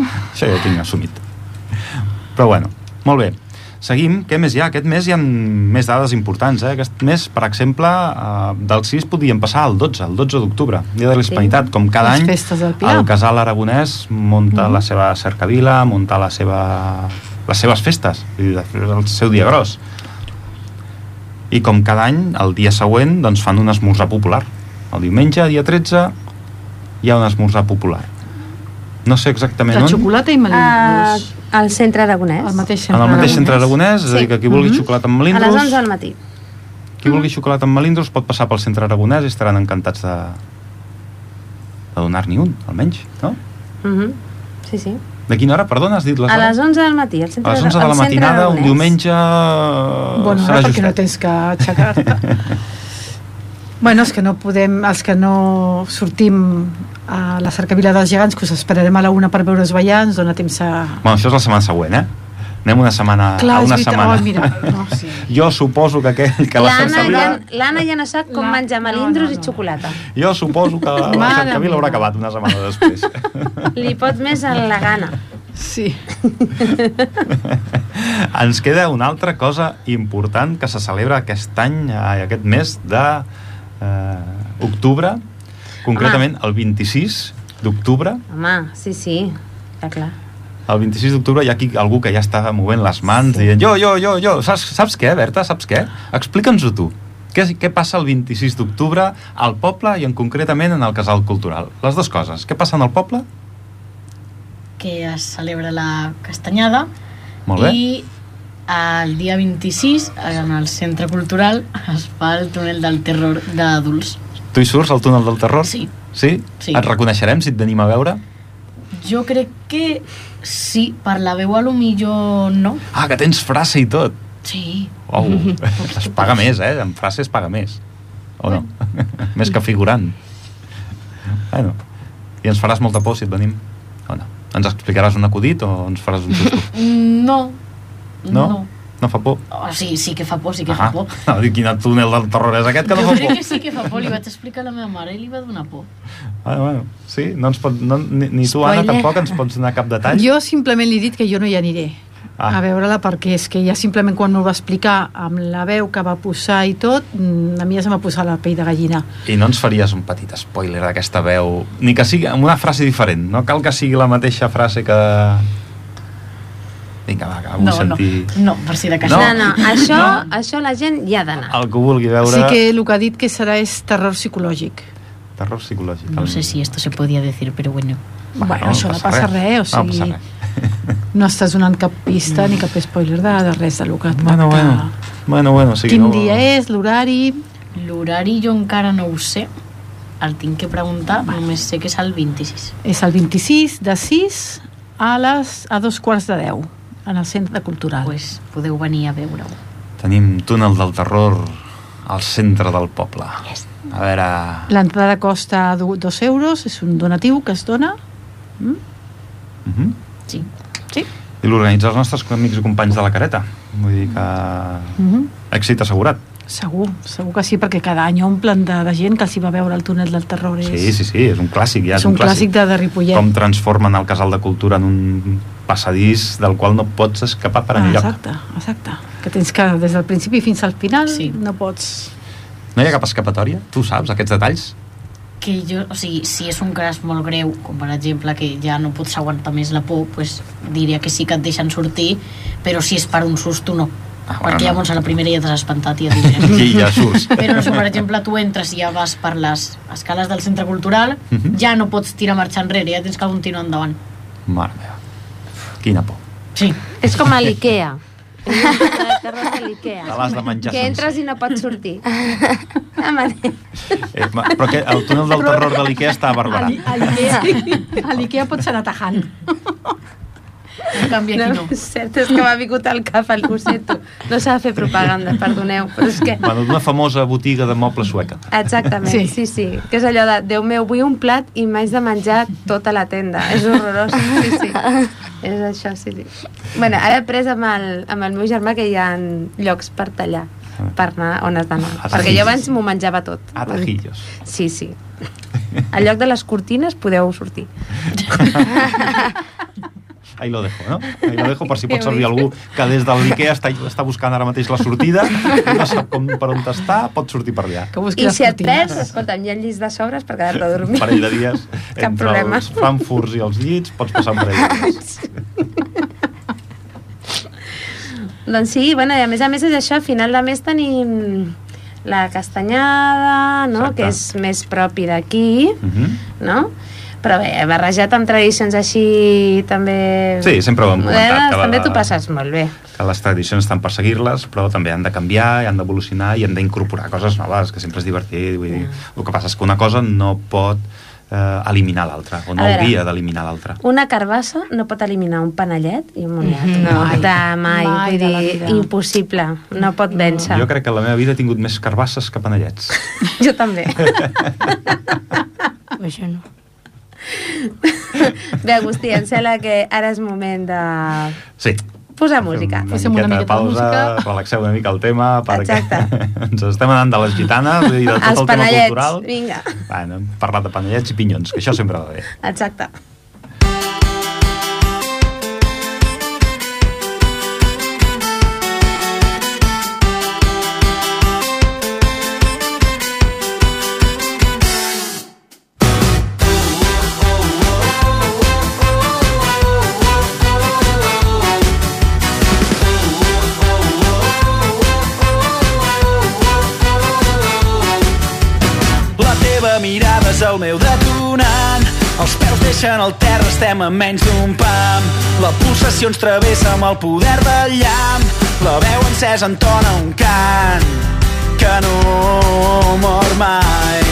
[SPEAKER 1] Això ja ho tinc assumit. Però bueno, molt bé. Seguim. Què més hi ha? Aquest mes hi ha més dades importants. Eh? Aquest mes, per exemple, eh, del 6 podíem passar al 12, el 12 d'octubre, Dia de la Hispanitat, com cada
[SPEAKER 2] Les
[SPEAKER 1] any.
[SPEAKER 2] festes del Pilar.
[SPEAKER 1] El casal aragonès
[SPEAKER 3] Mhm.
[SPEAKER 1] munta la seva cercavila, munta la seva, les seves festes, i després el seu dia gros. I com cada any, el dia següent, doncs fan un esmorzar popular. El diumenge, dia 13, hi ha un esmorzar popular. No sé exactament
[SPEAKER 2] De
[SPEAKER 1] on.
[SPEAKER 2] xocolata i
[SPEAKER 3] Ah,
[SPEAKER 2] melindros.
[SPEAKER 3] al centre aragonès.
[SPEAKER 2] al mateix
[SPEAKER 1] En
[SPEAKER 2] centre.
[SPEAKER 1] el mateix centre
[SPEAKER 2] aragonès.
[SPEAKER 1] aragonès, és a dir,
[SPEAKER 3] Sí. Mhm.
[SPEAKER 1] que qui vulgui xocolata amb
[SPEAKER 3] A les 11
[SPEAKER 1] melindros,
[SPEAKER 3] del matí.
[SPEAKER 1] qui vulgui xocolata amb melindros pot passar pel centre aragonès i estaran encantats de, de donar-n'hi un, almenys, no?
[SPEAKER 3] Mhm. Sí, sí.
[SPEAKER 1] De quina hora, perdona, has dit les
[SPEAKER 3] A
[SPEAKER 1] hores?
[SPEAKER 3] les 11 del matí, al centre
[SPEAKER 1] A les 11 de
[SPEAKER 3] al
[SPEAKER 1] la
[SPEAKER 3] centre
[SPEAKER 1] matinada, un
[SPEAKER 3] aragonès.
[SPEAKER 1] diumenge...
[SPEAKER 2] Bueno,
[SPEAKER 1] serà
[SPEAKER 2] ara perquè no
[SPEAKER 1] justet.
[SPEAKER 2] tens
[SPEAKER 1] *laughs*
[SPEAKER 2] que aixecar-te. bueno, és que no podem, els que no sortim a la cercavila dels gegants, que us esperarem a la una per veure's ballar, ens dona temps a...
[SPEAKER 1] Bueno, això és la setmana següent, eh? Anem una setmana... a una setmana. *laughs*
[SPEAKER 2] Oh, mira, no, sí.
[SPEAKER 1] Jo suposo que aquell que la
[SPEAKER 3] L'Anna
[SPEAKER 1] cercavila...
[SPEAKER 3] ja, l'Anna ja no sap com
[SPEAKER 2] La-
[SPEAKER 3] menjar
[SPEAKER 2] no,
[SPEAKER 3] melindros
[SPEAKER 2] no, no.
[SPEAKER 3] i *laughs* xocolata.
[SPEAKER 1] Jo suposo que la
[SPEAKER 2] Mare
[SPEAKER 1] cercavila
[SPEAKER 2] meva.
[SPEAKER 1] haurà acabat una setmana
[SPEAKER 2] *laughs*
[SPEAKER 1] després.
[SPEAKER 3] Li pot més a la gana.
[SPEAKER 2] sí.
[SPEAKER 1] Ens queda una altra cosa important que se celebra aquest any, eh, aquest mes de eh, octubre, concretament el 26 d'octubre,
[SPEAKER 3] Home, sí, sí, està clar.
[SPEAKER 1] el 26 d'octubre hi ha aquí algú que ja està movent les mans
[SPEAKER 3] Sí.
[SPEAKER 1] sí. dient jo, jo, jo, jo, saps, saps què, Berta, saps què? Explica'ns-ho tu. Què, què passa el 26 d'octubre al poble i en concretament en el casal cultural? Les dues coses. Què passa en el poble?
[SPEAKER 5] que es celebra la castanyada
[SPEAKER 1] Molt bé.
[SPEAKER 5] i el dia 26 en el centre cultural es fa el túnel del terror d'adults
[SPEAKER 1] Tu hi surts, al túnel del terror?
[SPEAKER 5] Sí.
[SPEAKER 1] Sí?
[SPEAKER 5] Sí.
[SPEAKER 1] Et reconeixerem si et venim a veure?
[SPEAKER 5] Jo crec que sí, per la veu a lo millor no.
[SPEAKER 1] Ah, que tens frase i tot.
[SPEAKER 5] Sí,
[SPEAKER 1] Uau, es paga més, eh? En frase es paga més. O no? *laughs* més que figurant. Bueno, i ens faràs molta por si et venim. O no? Ens explicaràs un acudit o ens faràs un
[SPEAKER 5] *laughs*
[SPEAKER 1] susto?
[SPEAKER 5] no,
[SPEAKER 1] No? No fa por?
[SPEAKER 5] Oh, sí, sí que fa por, sí que
[SPEAKER 1] Ah,
[SPEAKER 5] fa por.
[SPEAKER 1] *laughs* no, dic, quin túnel del terror és aquest que no
[SPEAKER 5] jo
[SPEAKER 1] fa
[SPEAKER 5] crec
[SPEAKER 1] por?
[SPEAKER 5] que sí que fa por, li vaig explicar a la meva mare i li va donar por.
[SPEAKER 1] Bueno, Ah, bueno, sí, no ens pot, no, ni, ni tu, Anna,
[SPEAKER 3] Spoiler.
[SPEAKER 1] tampoc ens pots donar cap detall.
[SPEAKER 2] Jo simplement li he dit que jo no hi aniré
[SPEAKER 1] Ah.
[SPEAKER 2] ah. a veure-la perquè és que ja simplement quan m'ho va explicar amb la veu que va posar i tot, mm, a mi ja se m'ha posat la pell de gallina.
[SPEAKER 1] I no ens faries un petit spoiler d'aquesta veu, ni que sigui amb una frase diferent, no cal que sigui la mateixa frase que... Vinga, va, que vull
[SPEAKER 5] no,
[SPEAKER 1] sentir...
[SPEAKER 5] no, no, per si de cas.
[SPEAKER 1] No?
[SPEAKER 3] No, no, això, això la gent hi ha d'anar.
[SPEAKER 1] El que ho vulgui
[SPEAKER 2] Veure...
[SPEAKER 1] veure...
[SPEAKER 2] Sí que el que ha dit que serà és terror psicològic.
[SPEAKER 1] Terror psicològic.
[SPEAKER 5] No sé si esto se podía decir, pero bueno.
[SPEAKER 2] Va, bueno, no això no passa res, res o
[SPEAKER 1] No
[SPEAKER 2] sigui,
[SPEAKER 1] passa
[SPEAKER 2] no,
[SPEAKER 1] res.
[SPEAKER 2] no estàs donant cap pista ni cap spoiler de, de res del que et va
[SPEAKER 1] Bueno, bueno, bueno, bueno, sí,
[SPEAKER 2] Quin
[SPEAKER 1] no...
[SPEAKER 2] dia és, l'horari...
[SPEAKER 5] L'horari jo encara no ho sé, el tinc que preguntar, només sé que és el 26.
[SPEAKER 2] És el 26 de 6 a, les, a dos quarts de 10 en el Centre Cultural.
[SPEAKER 5] Pues podeu venir a veure-ho.
[SPEAKER 1] Tenim túnel del terror al centre del poble.
[SPEAKER 5] Yes.
[SPEAKER 1] A veure...
[SPEAKER 2] L'entrada costa 2 euros, és un donatiu que es dona. Mm?
[SPEAKER 1] Uh -huh.
[SPEAKER 5] Sí.
[SPEAKER 2] Sí.
[SPEAKER 1] I l'organitza els nostres amics i companys de la careta. Vull dir que...
[SPEAKER 2] Mm
[SPEAKER 3] Mhm.
[SPEAKER 2] -hmm.
[SPEAKER 1] Èxit assegurat.
[SPEAKER 2] Segur, segur que sí, perquè cada any hi ha un plan de, de gent que els hi va veure el túnel del terror. És,
[SPEAKER 1] Sí, sí, sí, és un clàssic, ja
[SPEAKER 2] és, un, clàssic, de, de Ripollet.
[SPEAKER 1] Com transformen el casal de cultura en un passadís del qual no pots escapar per enlloc.
[SPEAKER 2] Ah, Exacte, exacte. Que tens que, des del principi fins al final,
[SPEAKER 5] Sí.
[SPEAKER 2] sí. no pots...
[SPEAKER 1] No hi ha cap escapatòria? Tu saps, aquests detalls?
[SPEAKER 5] Que jo, o sigui, si és un crash molt greu, com per exemple que ja no pots aguantar més la por, pues, diria que sí que et deixen sortir, però si és per un susto, no.
[SPEAKER 1] Ah,
[SPEAKER 5] Ah,
[SPEAKER 1] bueno,
[SPEAKER 5] Perquè
[SPEAKER 1] no.
[SPEAKER 5] llavors a la primera ja t'has espantat i ja t'hi
[SPEAKER 1] I ja
[SPEAKER 2] *laughs*
[SPEAKER 1] surts.
[SPEAKER 5] Però no sé, per exemple, tu entres i ja vas per les escales del centre cultural,
[SPEAKER 1] Mhm.
[SPEAKER 5] ja no pots tirar marxa enrere, ja tens que continuar endavant.
[SPEAKER 1] Mare meva. Quina por.
[SPEAKER 5] Sí,
[SPEAKER 3] És com a l'IKEA. *laughs* La terra de l'IKEA.
[SPEAKER 1] Te l'has de menjar
[SPEAKER 3] Que entres i no pots
[SPEAKER 1] *laughs*
[SPEAKER 3] sortir. Ah, vale.
[SPEAKER 1] Eh, ma- però que el túnel del terror de l'Ikea està a Barberà.
[SPEAKER 2] A l'Ikea, a l'Ikea pots anar tajant.
[SPEAKER 5] en canvi aquí no.
[SPEAKER 3] No, és *laughs* cert, és que m'ha vingut al cap, el- ho sento. No s'ha de fer propaganda, perdoneu, però és que...
[SPEAKER 1] Bueno, d'una famosa botiga de mobles sueca.
[SPEAKER 3] Exactament,
[SPEAKER 2] Sí.
[SPEAKER 3] sí. sí, sí. Que és allò de, Déu meu, vull un plat i m'haig de menjar tota la tenda. És horrorós, sí, sí. és això, sí, sí. Bueno, ara he pres amb el, amb el meu germà que hi ha llocs per tallar, per anar on has d'anar.
[SPEAKER 1] Ah,
[SPEAKER 3] Perquè
[SPEAKER 1] sí,
[SPEAKER 3] jo
[SPEAKER 1] sí,
[SPEAKER 3] abans m'ho menjava tot.
[SPEAKER 1] A tajillos.
[SPEAKER 3] Sí, sí. Al lloc de les cortines podeu sortir.
[SPEAKER 1] Ahí lo dejo, no? Ahí lo dejo per si pot servir algú que des de l'Ikea està, està buscant ara mateix la sortida, no sap com, per on està, pot sortir per allà.
[SPEAKER 2] Que busqui
[SPEAKER 3] I
[SPEAKER 2] les
[SPEAKER 3] si et
[SPEAKER 2] cortines.
[SPEAKER 3] perds, escolta'm, hi ha llits de sobres per quedar-te a
[SPEAKER 1] Un
[SPEAKER 3] dormir.
[SPEAKER 1] parell de dies
[SPEAKER 3] Cap
[SPEAKER 1] entre
[SPEAKER 3] problema.
[SPEAKER 1] els frankfurts i els llits pots passar un parell de
[SPEAKER 3] *laughs*
[SPEAKER 1] dies.
[SPEAKER 3] Doncs sí, bueno, i a més a més és això, a final de mes tenim la castanyada, no?
[SPEAKER 1] Exacte.
[SPEAKER 3] que és més propi d'aquí,
[SPEAKER 1] Uh -huh.
[SPEAKER 3] no? Però bé, barrejat amb tradicions així també...
[SPEAKER 1] Sí, sempre ho hem comentat,
[SPEAKER 3] modernes,
[SPEAKER 1] cada
[SPEAKER 3] També
[SPEAKER 1] vegada.
[SPEAKER 3] t'ho passes molt bé.
[SPEAKER 1] que les tradicions estan per seguir-les, però també han de canviar, i han d'evolucionar i han d'incorporar coses noves, que sempre és divertit. Vull dir,
[SPEAKER 3] Mm.
[SPEAKER 1] el que passa és que una cosa no pot eh, eliminar l'altra, o no
[SPEAKER 3] A veure.
[SPEAKER 1] hauria d'eliminar l'altra.
[SPEAKER 3] Una carbassa no pot eliminar un panellet i un moniato.
[SPEAKER 2] Mhm.
[SPEAKER 3] No,
[SPEAKER 2] Mai.
[SPEAKER 3] de, mai,
[SPEAKER 2] Mai
[SPEAKER 3] vull
[SPEAKER 2] de la vida.
[SPEAKER 3] dir, impossible. No pot vèncer.
[SPEAKER 1] Jo crec que la meva vida he tingut més carbasses que panellets.
[SPEAKER 3] *laughs* jo
[SPEAKER 2] *laughs*
[SPEAKER 3] també.
[SPEAKER 6] Això no.
[SPEAKER 3] Bé, Agustí, em sembla que ara és moment de
[SPEAKER 1] Sí.
[SPEAKER 3] posar música.
[SPEAKER 2] Posem
[SPEAKER 1] miqueta de
[SPEAKER 2] una miqueta de
[SPEAKER 1] pausa,
[SPEAKER 2] música.
[SPEAKER 1] relaxeu una mica el tema, perquè
[SPEAKER 3] Exacte.
[SPEAKER 1] *laughs* ens estem anant de les gitanes i de tot
[SPEAKER 3] Els
[SPEAKER 1] el tema
[SPEAKER 3] panellets,
[SPEAKER 1] cultural.
[SPEAKER 3] vinga.
[SPEAKER 1] Bueno, hem parlat de panellets i pinyons, que això sempre va bé.
[SPEAKER 3] Exacte.
[SPEAKER 7] La teva mirada és el meu detonant. Els peus deixen el terra, estem a menys d'un pam. La pulsació ens travessa amb el poder del llamp. La veu encesa entona un cant que no mor mai.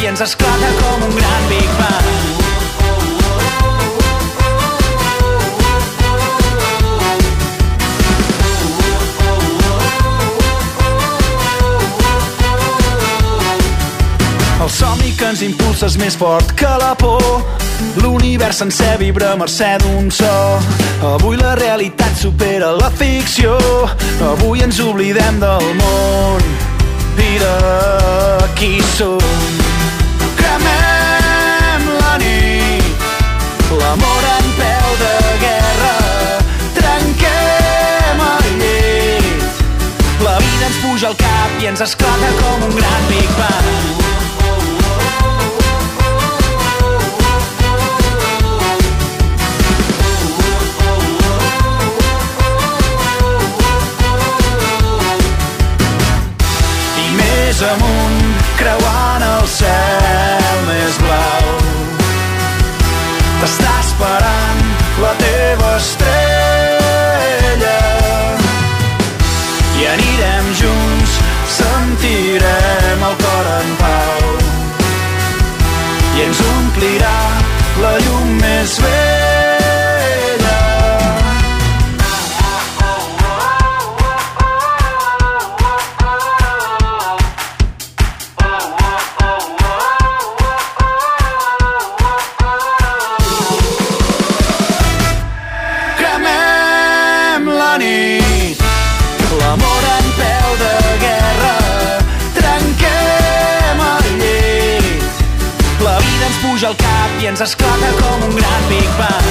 [SPEAKER 7] i ens esclata com un gran Big Bang. El somni que ens impulsa és més fort que la por. L'univers sencer vibra a mercè d'un so. Avui la realitat supera la ficció. Avui ens oblidem del món. Mira qui som. Cremem la nit. L'amor en peu de guerra. Trenquem el llit. La vida ens puja al cap i ens esclata com un gran Big Bang. i més amunt creuant el cel més blau t'està esperant la teva estrella i anirem junts sentirem el cor en pau i ens omplirà la llum més vella Cremem la nit, l'amor en peu de guerra. Trenquem el llit, la vida ens puja al cap i ens esclata com un gran Big Bang.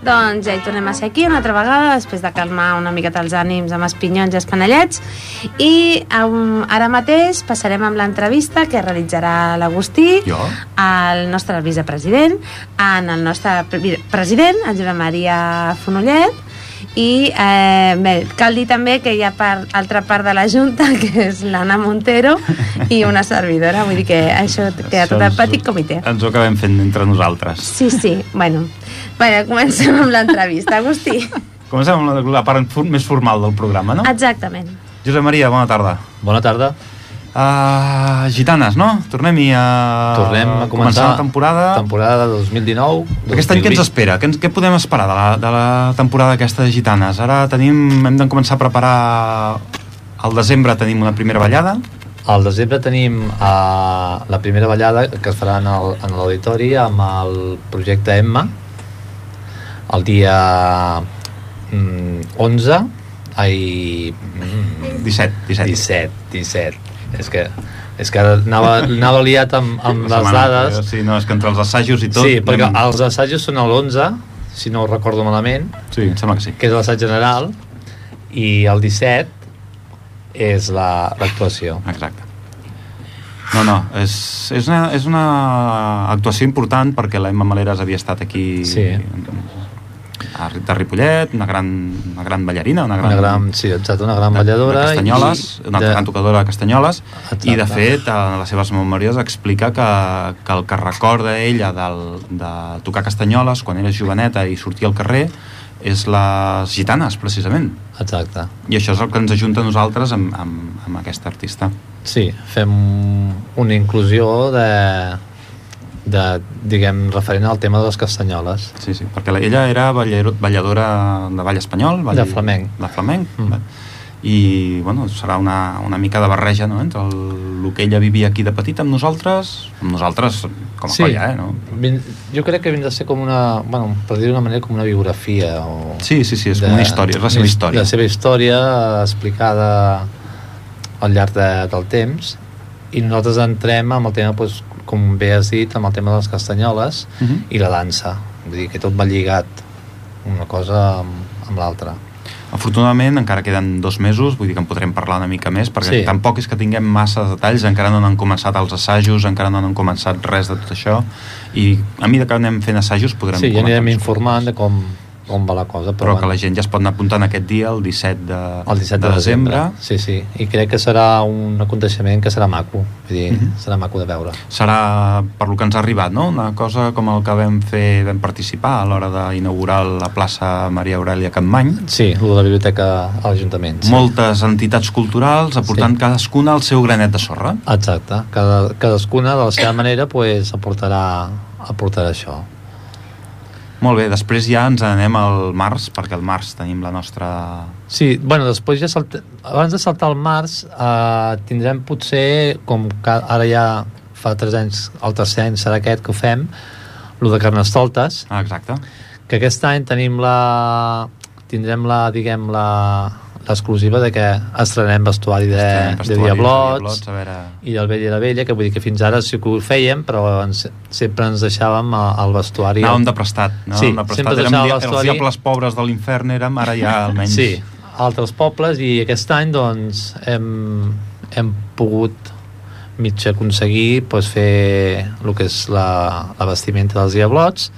[SPEAKER 3] Doncs ja hi tornem a ser aquí una altra vegada, després de calmar una miqueta els ànims amb els pinyons i els panellets. I um, ara mateix passarem amb l'entrevista que realitzarà l'Agustí,
[SPEAKER 1] Jo?
[SPEAKER 3] el nostre vicepresident, en el nostre pre- president, el Josep Maria Fonollet, i eh, bé, cal dir també que hi ha part, altra part de la Junta, que és l'Anna Montero, i una servidora, vull dir que això queda tot
[SPEAKER 1] Això
[SPEAKER 3] el
[SPEAKER 1] ens-
[SPEAKER 3] petit comitè.
[SPEAKER 1] Doncs, Ens ho acabem fent entre nosaltres.
[SPEAKER 3] Sí, sí, bueno. Bueno, comencem amb l'entrevista, Agustí.
[SPEAKER 1] Comencem amb la, la part for- més formal del programa, no?
[SPEAKER 3] Exactament.
[SPEAKER 1] Josep Maria, bona tarda.
[SPEAKER 6] Bona tarda.
[SPEAKER 1] Uh, gitanes, no? Tornem-hi a...
[SPEAKER 6] Tornem a començar
[SPEAKER 1] Començar Ah, la temporada.
[SPEAKER 6] Temporada 2019.
[SPEAKER 1] Aquest any què ens espera? Què, ens- què podem esperar de la, de la temporada aquesta de Gitanes? Ara tenim, hem de començar a preparar... Al desembre tenim una primera ballada.
[SPEAKER 6] Al desembre tenim eh, la primera ballada que es farà en el- en l'auditori amb el projecte Emma el dia mm, 11 ai, mm,
[SPEAKER 1] 17, 17.
[SPEAKER 6] 17, 17. És que, és que anava, anava liat amb, amb
[SPEAKER 1] La
[SPEAKER 6] les
[SPEAKER 1] setmana
[SPEAKER 6] dades.
[SPEAKER 1] que- Sí, no, és que entre els assajos i tot...
[SPEAKER 6] Sí, perquè
[SPEAKER 1] anem-
[SPEAKER 6] els assajos són el 11, si no ho recordo malament,
[SPEAKER 1] Sí, em sembla que sí.
[SPEAKER 6] que és l'assaig general, i el 17 és la- l'actuació. La,
[SPEAKER 1] Exacte. No, no, és, és, una, és una actuació important perquè l'Emma Maleras havia estat aquí
[SPEAKER 6] Sí.
[SPEAKER 1] a, de Ripollet, una gran, una gran ballarina, una gran,
[SPEAKER 6] una gran, sí, exacte, una gran
[SPEAKER 1] Ah. de-
[SPEAKER 6] balladora.
[SPEAKER 1] de Castanyoles,
[SPEAKER 6] i
[SPEAKER 1] una gran tocadora de Castanyoles,
[SPEAKER 6] Exacte.
[SPEAKER 1] i de fet a les seves memòries explica que, que el que recorda ella del, de tocar Castanyoles quan era joveneta i sortia al carrer és les gitanes, precisament.
[SPEAKER 6] Exacte.
[SPEAKER 1] I això és el que ens ajunta a nosaltres amb, amb, amb aquesta artista.
[SPEAKER 6] Sí, fem una inclusió de, de, diguem, referent al tema de les castanyoles.
[SPEAKER 1] Sí, sí, perquè la- ella era ballero, balladora de ball espanyol. Ball,
[SPEAKER 6] De flamenc.
[SPEAKER 1] De flamenc.
[SPEAKER 6] Mm.
[SPEAKER 1] Mm. I, bueno, serà una, una mica de barreja, no?, entre el, el que ella vivia aquí de petita amb nosaltres, amb nosaltres com a colla, eh, no?
[SPEAKER 6] Vin- Jo crec que vindrà a ser com una, bueno, per dir d'una manera, com una biografia. O
[SPEAKER 1] Sí, sí, sí, és com una història, és la seva
[SPEAKER 6] una his-
[SPEAKER 1] història.
[SPEAKER 6] La seva història eh, explicada al llarg de, del temps i nosaltres entrem amb el tema, doncs, com bé has dit, amb el tema de les castanyoles
[SPEAKER 1] Mhm.
[SPEAKER 6] i la dansa. Vull dir que tot va lligat una cosa amb, amb l'altra.
[SPEAKER 1] Afortunadament encara queden dos mesos, vull dir que en podrem parlar una mica més, perquè
[SPEAKER 6] Sí.
[SPEAKER 1] tampoc és que tinguem massa detalls, encara no han començat els assajos, encara no han començat res de tot això, i a mesura que anem fent assajos podrem
[SPEAKER 6] Sí, ja
[SPEAKER 1] comentar
[SPEAKER 6] anirem
[SPEAKER 1] més
[SPEAKER 6] informant de
[SPEAKER 1] coses.
[SPEAKER 6] com, on va la cosa.
[SPEAKER 1] però que
[SPEAKER 6] bueno.
[SPEAKER 1] la gent ja es pot anar apuntant aquest dia, el 17 de,
[SPEAKER 6] el 17 de, de desembre. Sí, sí, i crec que serà un aconteixement que serà maco, vull dir,
[SPEAKER 1] Mhm.
[SPEAKER 6] mm -hmm. serà maco de veure.
[SPEAKER 1] Serà, per lo que ens ha arribat, no? una cosa com el que vam fer, vam participar a l'hora d'inaugurar la plaça Maria Aurelia Campmany.
[SPEAKER 6] Sí, lo de la biblioteca a l'Ajuntament.
[SPEAKER 1] Sí.
[SPEAKER 6] Sí.
[SPEAKER 1] Moltes entitats culturals aportant
[SPEAKER 6] Sí.
[SPEAKER 1] sí. cadascuna el seu granet de sorra.
[SPEAKER 6] Exacte, Cada, cadascuna de la seva manera pues, aportarà, aportarà això.
[SPEAKER 1] Molt bé, després ja ens anem al març, perquè al març tenim la nostra...
[SPEAKER 6] Sí, bueno, després ja salt... abans de saltar al març eh, tindrem potser, com que ara ja fa 3 anys, el tercer any serà aquest que ho fem, el de Carnestoltes,
[SPEAKER 1] Ah, exacte.
[SPEAKER 6] que aquest any tenim la tindrem la, diguem, la l'exclusiva de que estrenem vestuari de,
[SPEAKER 1] Estem
[SPEAKER 6] de
[SPEAKER 1] vestuaris,
[SPEAKER 6] Diablots eh.
[SPEAKER 1] A veure...
[SPEAKER 6] i del Vell i la Vella, que vull dir que fins ara sí que ho fèiem, però ens, sempre ens deixàvem a- al vestuari...
[SPEAKER 1] Anàvem de prestat. Anàvem
[SPEAKER 6] Sí,
[SPEAKER 1] de
[SPEAKER 6] sempre
[SPEAKER 1] prestat. Érem
[SPEAKER 6] deixava
[SPEAKER 1] dia, els
[SPEAKER 6] l'estuari-
[SPEAKER 1] diables pobres de l'infern érem, ara
[SPEAKER 6] *laughs*
[SPEAKER 1] ja almenys...
[SPEAKER 6] Sí, a altres pobles, i aquest any doncs hem, hem pogut mig aconseguir doncs, fer el que és la, la vestimenta dels Diablots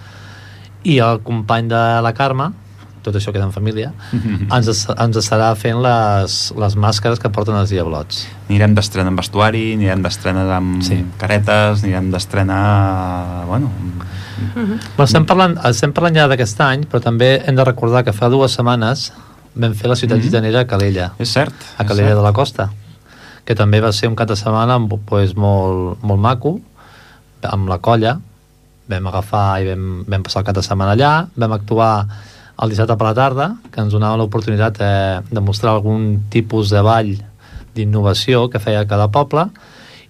[SPEAKER 6] i el company de la Carme tot això queda en família
[SPEAKER 1] *laughs* Mm.
[SPEAKER 6] ens, es- ens estarà fent les, les màscares que porten els diablots
[SPEAKER 1] Anirem d'estrena amb vestuari, anirem d'estrena amb
[SPEAKER 6] Sí.
[SPEAKER 1] sí. caretes, anirem d'estrena... Bueno,
[SPEAKER 6] Però estem parlant, estem parlant ja d'aquest any però també hem de recordar que fa dues setmanes vam fer la ciutat mm
[SPEAKER 1] Mhm.
[SPEAKER 6] -hmm. gitanera a Calella
[SPEAKER 1] és cert.
[SPEAKER 6] a
[SPEAKER 1] és
[SPEAKER 6] Calella
[SPEAKER 1] cert.
[SPEAKER 6] de la Costa que també va ser un cap de setmana amb- pues, molt, molt maco amb la colla vam agafar i vam, vam passar el cap de setmana allà vam actuar el dissabte per la tarda que ens donava l'oportunitat eh, de mostrar algun tipus de ball d'innovació que feia cada poble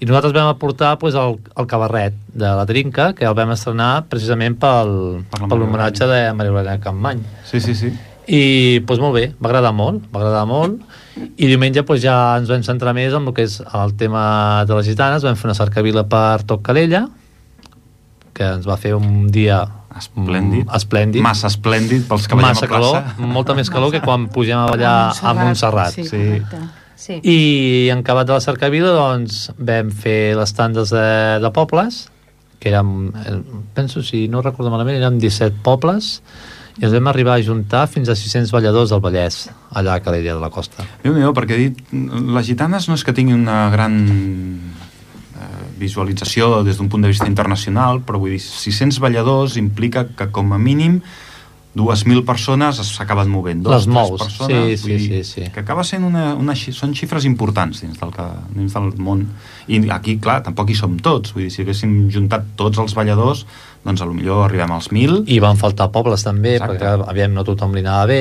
[SPEAKER 6] i nosaltres vam aportar pues, el, el cabarret de la Trinca que el vam estrenar precisament pel-
[SPEAKER 1] Per la
[SPEAKER 6] per
[SPEAKER 1] Maria
[SPEAKER 6] l'homenatge de Maria Aurèlia Campmany
[SPEAKER 1] Sí, sí, sí.
[SPEAKER 6] i doncs molt bé, va agradar molt, va agradar molt. I diumenge doncs, ja ens vam centrar més en el que és el tema de les gitanes, vam fer una cercavila per tot Calella, que ens va fer un dia
[SPEAKER 1] Esplèndid.
[SPEAKER 6] mm, esplèndid.
[SPEAKER 1] Massa esplèndid pels que veiem
[SPEAKER 6] Massa
[SPEAKER 1] a plaça.
[SPEAKER 6] calor, Mm. molta més calor que *laughs* quan pugem a ballar Ah, a Montserrat.
[SPEAKER 2] Sí,
[SPEAKER 1] sí.
[SPEAKER 2] correcte.
[SPEAKER 3] Sí.
[SPEAKER 6] I en acabat de la cercavila doncs, vam fer les tandes de, de pobles que érem, eh, penso si no recordo malament, érem 17 pobles i ens vam arribar a juntar fins a 600 balladors del Vallès, allà a Calella de la Costa.
[SPEAKER 1] déu nhi perquè he dit, les gitanes no és que tinguin una gran eh, visualització des d'un punt de vista internacional, però vull dir, 600 balladors implica que com a mínim 2.000 persones s'acaben movent. Dos,
[SPEAKER 6] Les
[SPEAKER 1] tres
[SPEAKER 6] mous,
[SPEAKER 1] persones,
[SPEAKER 6] sí,
[SPEAKER 1] vull
[SPEAKER 6] sí,
[SPEAKER 1] dir,
[SPEAKER 6] sí, sí.
[SPEAKER 1] Que acaba sent una, una... xi- Són xifres importants dins del, que, dins del món. I aquí, clar, tampoc hi som tots. Vull dir, si haguéssim juntat tots els balladors, doncs a lo millor arribem als 1.000
[SPEAKER 6] I van faltar pobles també,
[SPEAKER 1] Exacte.
[SPEAKER 6] Exacte. perquè aviam no tothom li anava bé,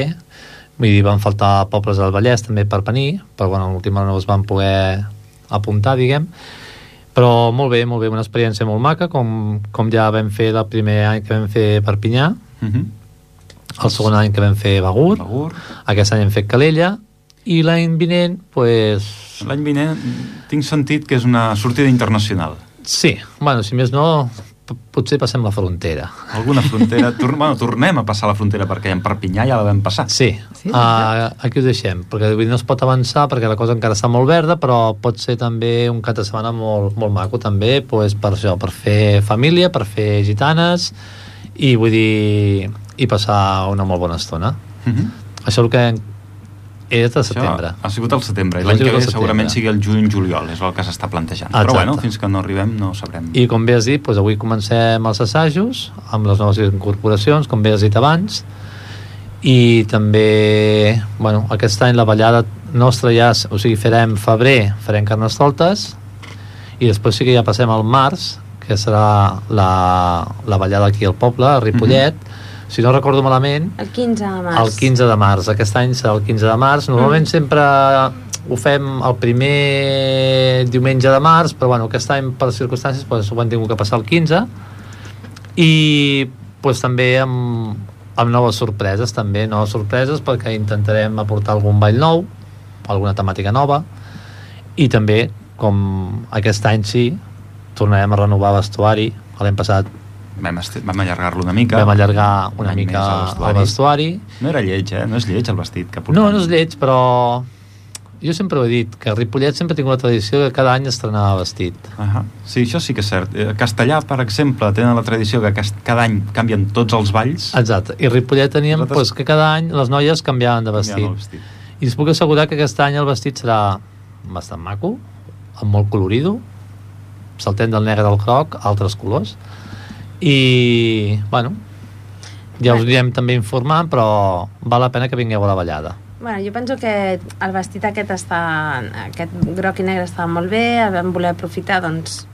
[SPEAKER 6] vull dir, van faltar pobles del Vallès també per venir, però bueno, a l'última hora no es van poder apuntar, diguem, però molt bé, molt bé, una experiència molt maca, com, com ja vam fer el primer any que vam fer Perpinyà,
[SPEAKER 1] Uh -huh.
[SPEAKER 6] el segon any que vam fer Begur, aquest any hem fet Calella, i l'any vinent, pues,
[SPEAKER 1] L'any vinent tinc sentit que és una sortida internacional.
[SPEAKER 6] sí, bueno, si més no, p- potser passem la frontera.
[SPEAKER 1] Alguna frontera... Tor bueno, tornem a passar la frontera perquè en Perpinyà ja la vam passar.
[SPEAKER 6] Sí,
[SPEAKER 2] Sí,
[SPEAKER 6] sí uh, aquí ho deixem, perquè vull dir, no es pot avançar perquè la cosa encara està molt verda, però pot ser també un cap de setmana molt, molt maco també, pues, per això, per fer família, per fer gitanes, i vull dir, i passar una molt bona estona.
[SPEAKER 1] Uh -huh.
[SPEAKER 6] Això és el que és de Mhm. setembre.
[SPEAKER 1] ha sigut al setembre. i
[SPEAKER 6] Ha
[SPEAKER 1] L'any que
[SPEAKER 6] sigut
[SPEAKER 1] ve
[SPEAKER 6] al setembre.
[SPEAKER 1] segurament sigui el juny-juliol, és el que s'està plantejant.
[SPEAKER 6] Exacte.
[SPEAKER 1] Però bueno, fins que no arribem no ho sabrem.
[SPEAKER 6] I com bé has dit, doncs avui comencem els assajos amb les noves incorporacions, com bé has dit abans, i també, bueno, aquest any la ballada nostra ja, s- o sigui, farem febrer, farem carnestoltes, i després sí que ja passem al març, que serà la, la ballada aquí al poble, a Ripollet, si no recordo malament,
[SPEAKER 3] El 15 de març.
[SPEAKER 6] el 15 de març. Aquest any serà el 15 de març. Normalment sempre ho fem el primer diumenge de març, però bueno, aquest any per circumstàncies doncs, ho han tingut que passar el 15 i doncs, també amb, amb noves sorpreses també, noves sorpreses perquè intentarem aportar algun ball nou alguna temàtica nova i també, com aquest any sí, tornarem a renovar vestuari l'any passat
[SPEAKER 1] Vam, est- vam allargar-lo una mica.
[SPEAKER 6] vam allargar
[SPEAKER 1] Un
[SPEAKER 6] una
[SPEAKER 1] any
[SPEAKER 6] mica
[SPEAKER 1] més al
[SPEAKER 6] el
[SPEAKER 1] vestuari.
[SPEAKER 6] vestuari
[SPEAKER 1] No era lleig, eh? No és lleig el vestit que portem.
[SPEAKER 6] No, no és lleig, però jo sempre ho he dit, que Ripollet sempre ha tingut la tradició que cada any estrenava vestit.
[SPEAKER 1] Uh -huh. Sí, això sí que és cert. Eh, Castellà, per exemple, tenen la tradició que cas- cada any canvien tots els balls.
[SPEAKER 6] Exacte, i Ripollet teníem
[SPEAKER 1] Nosaltres-
[SPEAKER 6] doncs, que cada any les noies canviaven de vestit.
[SPEAKER 1] Canviant el vestit.
[SPEAKER 6] I us puc assegurar que aquest any el vestit serà bastant maco, amb molt colorido, saltem del negre al groc, altres colors, i, bueno, ja us anirem també informant, però val la pena que vingueu a la ballada.
[SPEAKER 3] Bueno, jo penso que el vestit aquest està, aquest groc i negre està molt bé, el vam voler aprofitar, doncs,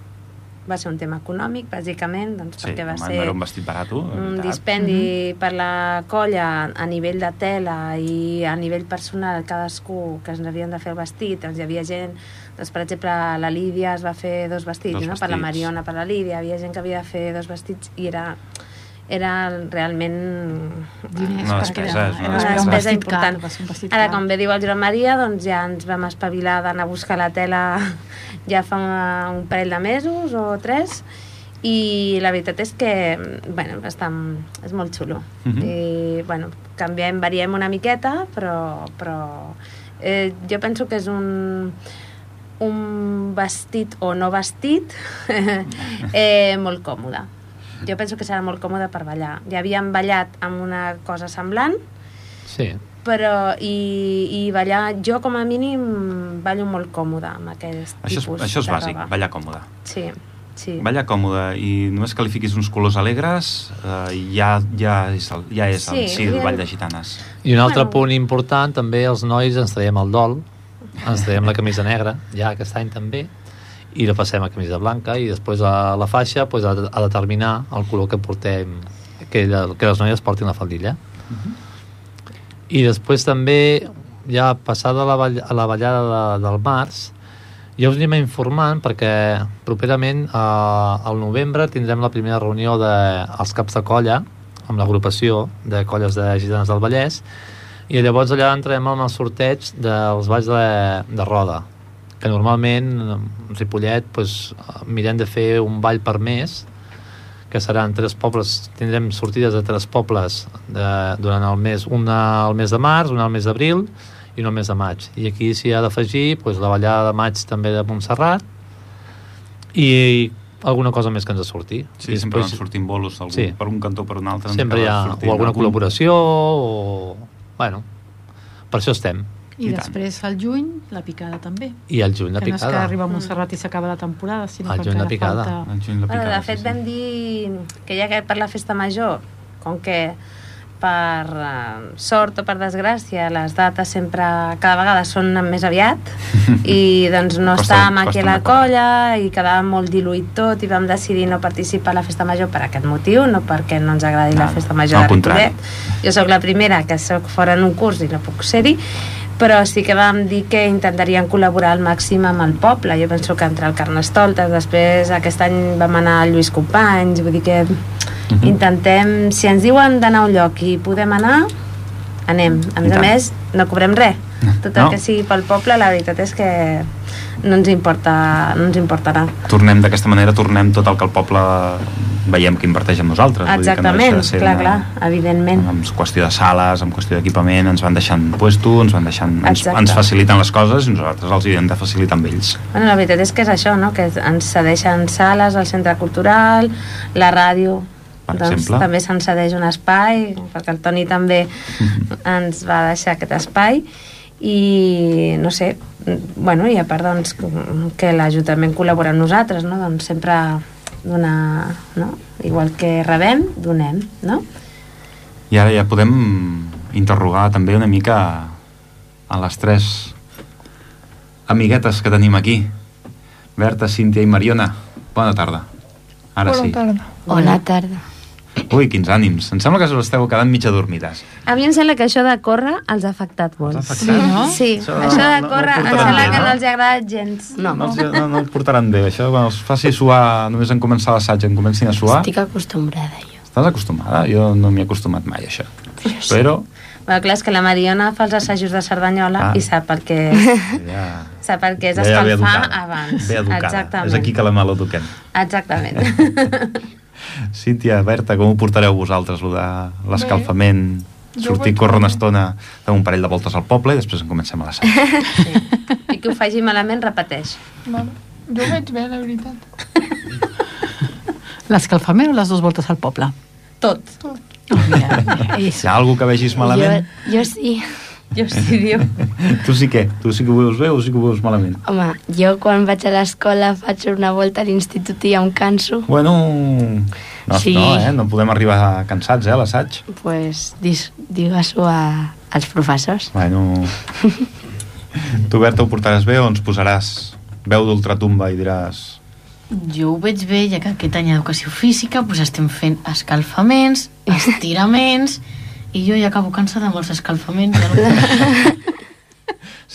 [SPEAKER 3] va ser un tema econòmic, bàsicament, doncs,
[SPEAKER 1] Sí,
[SPEAKER 3] perquè va
[SPEAKER 1] home,
[SPEAKER 3] ser
[SPEAKER 1] no era un vestit barat, la
[SPEAKER 3] un
[SPEAKER 1] veritat.
[SPEAKER 3] dispendi per la colla a nivell de tela i a nivell personal, cadascú que ens havien de fer el vestit, doncs hi havia gent, doncs, per exemple, la Lídia es va fer dos vestits,
[SPEAKER 1] Dos
[SPEAKER 3] no? per la
[SPEAKER 1] vestits.
[SPEAKER 3] Mariona, per la Lídia, hi havia gent que havia de fer dos vestits i era era realment
[SPEAKER 2] Diners,
[SPEAKER 1] Una
[SPEAKER 2] perquè
[SPEAKER 1] despesa, és una
[SPEAKER 2] era
[SPEAKER 1] despesa.
[SPEAKER 2] un
[SPEAKER 1] Despesa
[SPEAKER 2] vestit car,
[SPEAKER 3] important.
[SPEAKER 2] va ser un vestit
[SPEAKER 3] Ara,
[SPEAKER 2] car.
[SPEAKER 3] com bé diu el Joan Maria, doncs ja ens vam espavilar d'anar a buscar la tela *laughs* ja fa un parell de mesos o tres i la veritat és que bueno, està, és molt xulo
[SPEAKER 1] Mhm.
[SPEAKER 3] i bueno, canviem, variem una miqueta però, però eh, jo penso que és un un vestit o no vestit *laughs* eh, molt còmode jo penso que serà molt còmode per ballar ja havíem ballat amb una cosa semblant
[SPEAKER 6] Sí,
[SPEAKER 3] però i, i ballar, jo com a mínim ballo molt còmode amb aquest
[SPEAKER 1] Això és,
[SPEAKER 3] tipus
[SPEAKER 1] això és
[SPEAKER 3] de
[SPEAKER 1] bàsic,
[SPEAKER 3] roba.
[SPEAKER 1] ballar còmode.
[SPEAKER 3] Sí, sí.
[SPEAKER 1] Ballar còmode i només que li fiquis uns colors alegres eh, ja, ja és el, ja és el,
[SPEAKER 3] Sí,
[SPEAKER 1] sí, el
[SPEAKER 3] ja-
[SPEAKER 1] ball de gitanes.
[SPEAKER 6] i un altre
[SPEAKER 3] Bueno.
[SPEAKER 6] punt important, també els nois ens traiem el dol, ens traiem la camisa negra, ja aquest any també, i la passem a camisa blanca, i després a la faixa pues, ha, de, ha de determinar el color que portem, que, la, que les noies portin la faldilla. I després també, ja passada la, ball, a la ballada de, del març, ja us anem informant perquè properament eh, al novembre tindrem la primera reunió dels de, els caps de colla amb l'agrupació de colles de gitanes del Vallès i llavors allà entrem amb el sorteig dels balls de, de roda que normalment eh, Ripollet pues, eh, mirem de fer un ball per mes que seran tres pobles, tindrem sortides de tres pobles de, durant el mes, una al mes de març, una al mes d'abril i una al mes de maig. I aquí s'hi ha d'afegir doncs, la ballada de maig també de Montserrat i alguna cosa més que ens surti.
[SPEAKER 1] Sí,
[SPEAKER 6] I
[SPEAKER 1] sempre van
[SPEAKER 6] després
[SPEAKER 1] sortint bolos algun,
[SPEAKER 6] Sí.
[SPEAKER 1] sí. per un cantó o per un altre.
[SPEAKER 6] sempre hi ha
[SPEAKER 1] acaba sortint
[SPEAKER 6] o alguna
[SPEAKER 1] algun.
[SPEAKER 6] col·laboració o... Bueno, per això estem.
[SPEAKER 1] I
[SPEAKER 2] I,
[SPEAKER 1] tant.
[SPEAKER 2] després, al juny, la picada també.
[SPEAKER 6] I el juny la
[SPEAKER 2] que no és que
[SPEAKER 6] picada.
[SPEAKER 2] arriba a Montserrat i s'acaba la temporada, sinó
[SPEAKER 6] Al
[SPEAKER 2] que
[SPEAKER 6] juny la
[SPEAKER 2] encara
[SPEAKER 6] picada.
[SPEAKER 2] falta...
[SPEAKER 1] El juny la
[SPEAKER 3] Bueno,
[SPEAKER 1] picada,
[SPEAKER 3] de fet,
[SPEAKER 1] sí, sí.
[SPEAKER 3] vam dir que ja que per la festa major, com que per eh, sort o per desgràcia les dates sempre cada vegada són
[SPEAKER 1] *laughs*
[SPEAKER 3] més aviat i doncs no
[SPEAKER 1] Costa-
[SPEAKER 3] estàvem aquí
[SPEAKER 1] costa
[SPEAKER 3] a la
[SPEAKER 1] recordar.
[SPEAKER 3] colla i quedava molt diluït tot i vam decidir no participar a la festa major per aquest motiu, no perquè no ens agradi
[SPEAKER 1] No,
[SPEAKER 3] la
[SPEAKER 1] no,
[SPEAKER 3] festa
[SPEAKER 1] al
[SPEAKER 3] major de
[SPEAKER 1] contrari.
[SPEAKER 3] Ripollet jo sóc la primera que sóc fora en un curs i no puc ser-hi però sí que vam dir que intentarien col·laborar al màxim amb el poble jo penso que entre el Carnestoltes després aquest any vam anar a Lluís Companys vull dir que
[SPEAKER 1] Mhm.
[SPEAKER 3] *laughs* intentem si ens diuen d'anar a un lloc i podem anar anem, a
[SPEAKER 1] I
[SPEAKER 3] més a
[SPEAKER 1] tant.
[SPEAKER 3] més no cobrem res tot el
[SPEAKER 1] No.
[SPEAKER 3] que sigui pel poble la veritat és que no ens importa no ens importarà
[SPEAKER 1] tornem d'aquesta manera, tornem tot el que el poble veiem que inverteix en nosaltres. Vull dir que no deixa
[SPEAKER 3] exactament,
[SPEAKER 1] de ser
[SPEAKER 3] clar,
[SPEAKER 1] una-
[SPEAKER 3] clar, evidentment
[SPEAKER 1] En qüestió de sales, en qüestió d'equipament, ens van deixant puesto, ens van deixant, ens,
[SPEAKER 3] Exacte.
[SPEAKER 1] ens faciliten les coses i nosaltres els hi hem de facilitar amb
[SPEAKER 6] *laughs*
[SPEAKER 1] ells.
[SPEAKER 3] Bueno, la veritat és que és això, no? que ens cedeixen sales al centre cultural, la ràdio,
[SPEAKER 1] Per
[SPEAKER 3] doncs
[SPEAKER 1] exemple.
[SPEAKER 3] també se'ns cedeix un espai, perquè el Toni també ens va deixar aquest espai, i no sé, mm, bueno, i a part doncs, com- que l'Ajuntament col·labora amb nosaltres, no? doncs sempre donar, no? igual que rebem, donem, no?
[SPEAKER 1] I ara ja podem interrogar també una mica a les tres amiguetes que tenim aquí. Berta, Cíntia i Mariona, bona tarda. Ara
[SPEAKER 4] Bona
[SPEAKER 1] sí.
[SPEAKER 4] tarda.
[SPEAKER 8] Bona tarda.
[SPEAKER 1] Ui, quins ànims. Em sembla que us esteu quedant mitja dormides.
[SPEAKER 3] A mi em sembla que això de córrer els ha afectat molt.
[SPEAKER 1] Els ha afectat? Sí,
[SPEAKER 2] no?
[SPEAKER 3] Sí,
[SPEAKER 1] Això eh?
[SPEAKER 3] això, això
[SPEAKER 1] no- no
[SPEAKER 3] de
[SPEAKER 1] ho
[SPEAKER 3] córrer em
[SPEAKER 1] portaran
[SPEAKER 3] sembla
[SPEAKER 1] bé,
[SPEAKER 3] que
[SPEAKER 1] no?
[SPEAKER 3] no els hi ha agradat gens.
[SPEAKER 1] No, no, els- no, no el portaran bé, això. Quan els faci suar, només en començar l'assaig en comencin a suar...
[SPEAKER 8] Estic acostumbrada, jo.
[SPEAKER 1] Estàs acostumada? Jo no m'hi he acostumat mai, a això. Però...
[SPEAKER 3] Bueno, clar, és que la Mariona fa els assajos de Cerdanyola
[SPEAKER 1] Ah.
[SPEAKER 3] i sap el que,
[SPEAKER 1] *laughs* Ja...
[SPEAKER 3] sap el que és
[SPEAKER 1] ja ve
[SPEAKER 3] escalfar
[SPEAKER 1] educada.
[SPEAKER 3] abans.
[SPEAKER 1] Ve educada.
[SPEAKER 3] Exactament.
[SPEAKER 1] És aquí que la maleduquem.
[SPEAKER 3] Exactament.
[SPEAKER 1] *laughs* Cíntia, Berta, com ho portareu vosaltres, allò de l'escalfament?
[SPEAKER 4] Jo
[SPEAKER 1] sortir,
[SPEAKER 4] vaig
[SPEAKER 1] córrer una
[SPEAKER 4] venir.
[SPEAKER 1] estona, fer un parell de voltes al poble i després en comencem a la sala.
[SPEAKER 3] I que ho faci malament repeteix.
[SPEAKER 4] Vale. Jo vaig bé, la veritat.
[SPEAKER 2] L'escalfament o les dues voltes al poble?
[SPEAKER 3] Tot.
[SPEAKER 2] Oh,
[SPEAKER 6] *laughs*
[SPEAKER 2] mira, és...
[SPEAKER 1] Si hi ha algú que vegis malament,
[SPEAKER 8] Jo, jo sí.
[SPEAKER 3] Jo sí, diu.
[SPEAKER 1] tu sí que, tu sí que ho veus bé o sí que ho veus malament?
[SPEAKER 8] Home, jo quan vaig a l'escola faig una volta a l'institut i ja em canso.
[SPEAKER 1] Bueno, no,
[SPEAKER 8] Sí.
[SPEAKER 1] no, eh? no podem arribar cansats, eh, a l'assaig.
[SPEAKER 8] Pues dis- digues-ho a- als professors.
[SPEAKER 1] Bueno, tu, Berta, ho portaràs bé o ens posaràs veu d'ultratumba i diràs...
[SPEAKER 5] Jo ho veig bé, ja que aquest any d'educació física doncs estem fent escalfaments, estiraments, i jo ja acabo cansada amb els escalfaments. Ja no...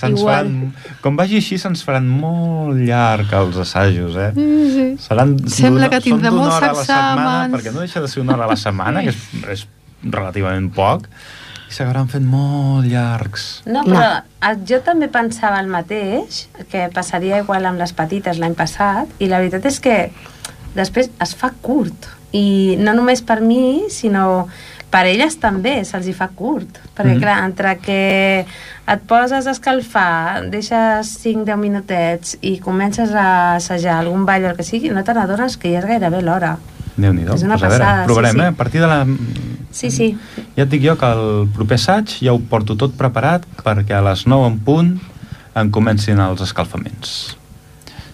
[SPEAKER 1] Se'ns
[SPEAKER 8] Igual.
[SPEAKER 1] faran, com vagi així, se'ns faran molt llarg els assajos, eh?
[SPEAKER 2] Sí.
[SPEAKER 1] Seran
[SPEAKER 2] Sembla
[SPEAKER 1] d'una-
[SPEAKER 2] que tindrà
[SPEAKER 1] són d'una
[SPEAKER 2] molts
[SPEAKER 1] hora a la setmana,
[SPEAKER 2] exàmens.
[SPEAKER 1] Perquè no deixa de ser una hora a la setmana, que és, és relativament poc, i s'acabaran fent molt llargs.
[SPEAKER 3] No, però no. jo també pensava el mateix, que passaria igual amb les petites l'any passat, i la veritat és que després es fa curt. I no només per mi, sinó per elles també se'ls hi fa curt. Perquè, mm
[SPEAKER 1] Mhm.
[SPEAKER 3] -hmm. clar, entre que et poses a escalfar, deixes 5-10 minutets i comences a assajar algun ball o el que sigui, no te n'adones que ja és gairebé l'hora.
[SPEAKER 1] Déu-n'hi-do.
[SPEAKER 3] És una
[SPEAKER 1] a veure,
[SPEAKER 3] passada, sí,
[SPEAKER 1] provarem,
[SPEAKER 3] sí.
[SPEAKER 1] eh? A partir de la...
[SPEAKER 3] Sí, sí.
[SPEAKER 1] Ja et dic jo que el proper assaig ja ho porto tot preparat perquè a les 9 en punt en comencin els escalfaments.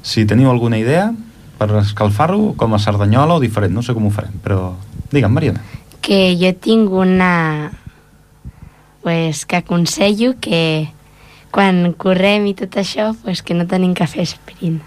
[SPEAKER 1] Si teniu alguna idea per escalfar-ho, com a Cerdanyola o diferent, no sé com ho farem, però digue'm, Mariana.
[SPEAKER 8] Que jo tinc una... Pues que aconsello que quan correm i tot això, pues que no tenim que fer sprint.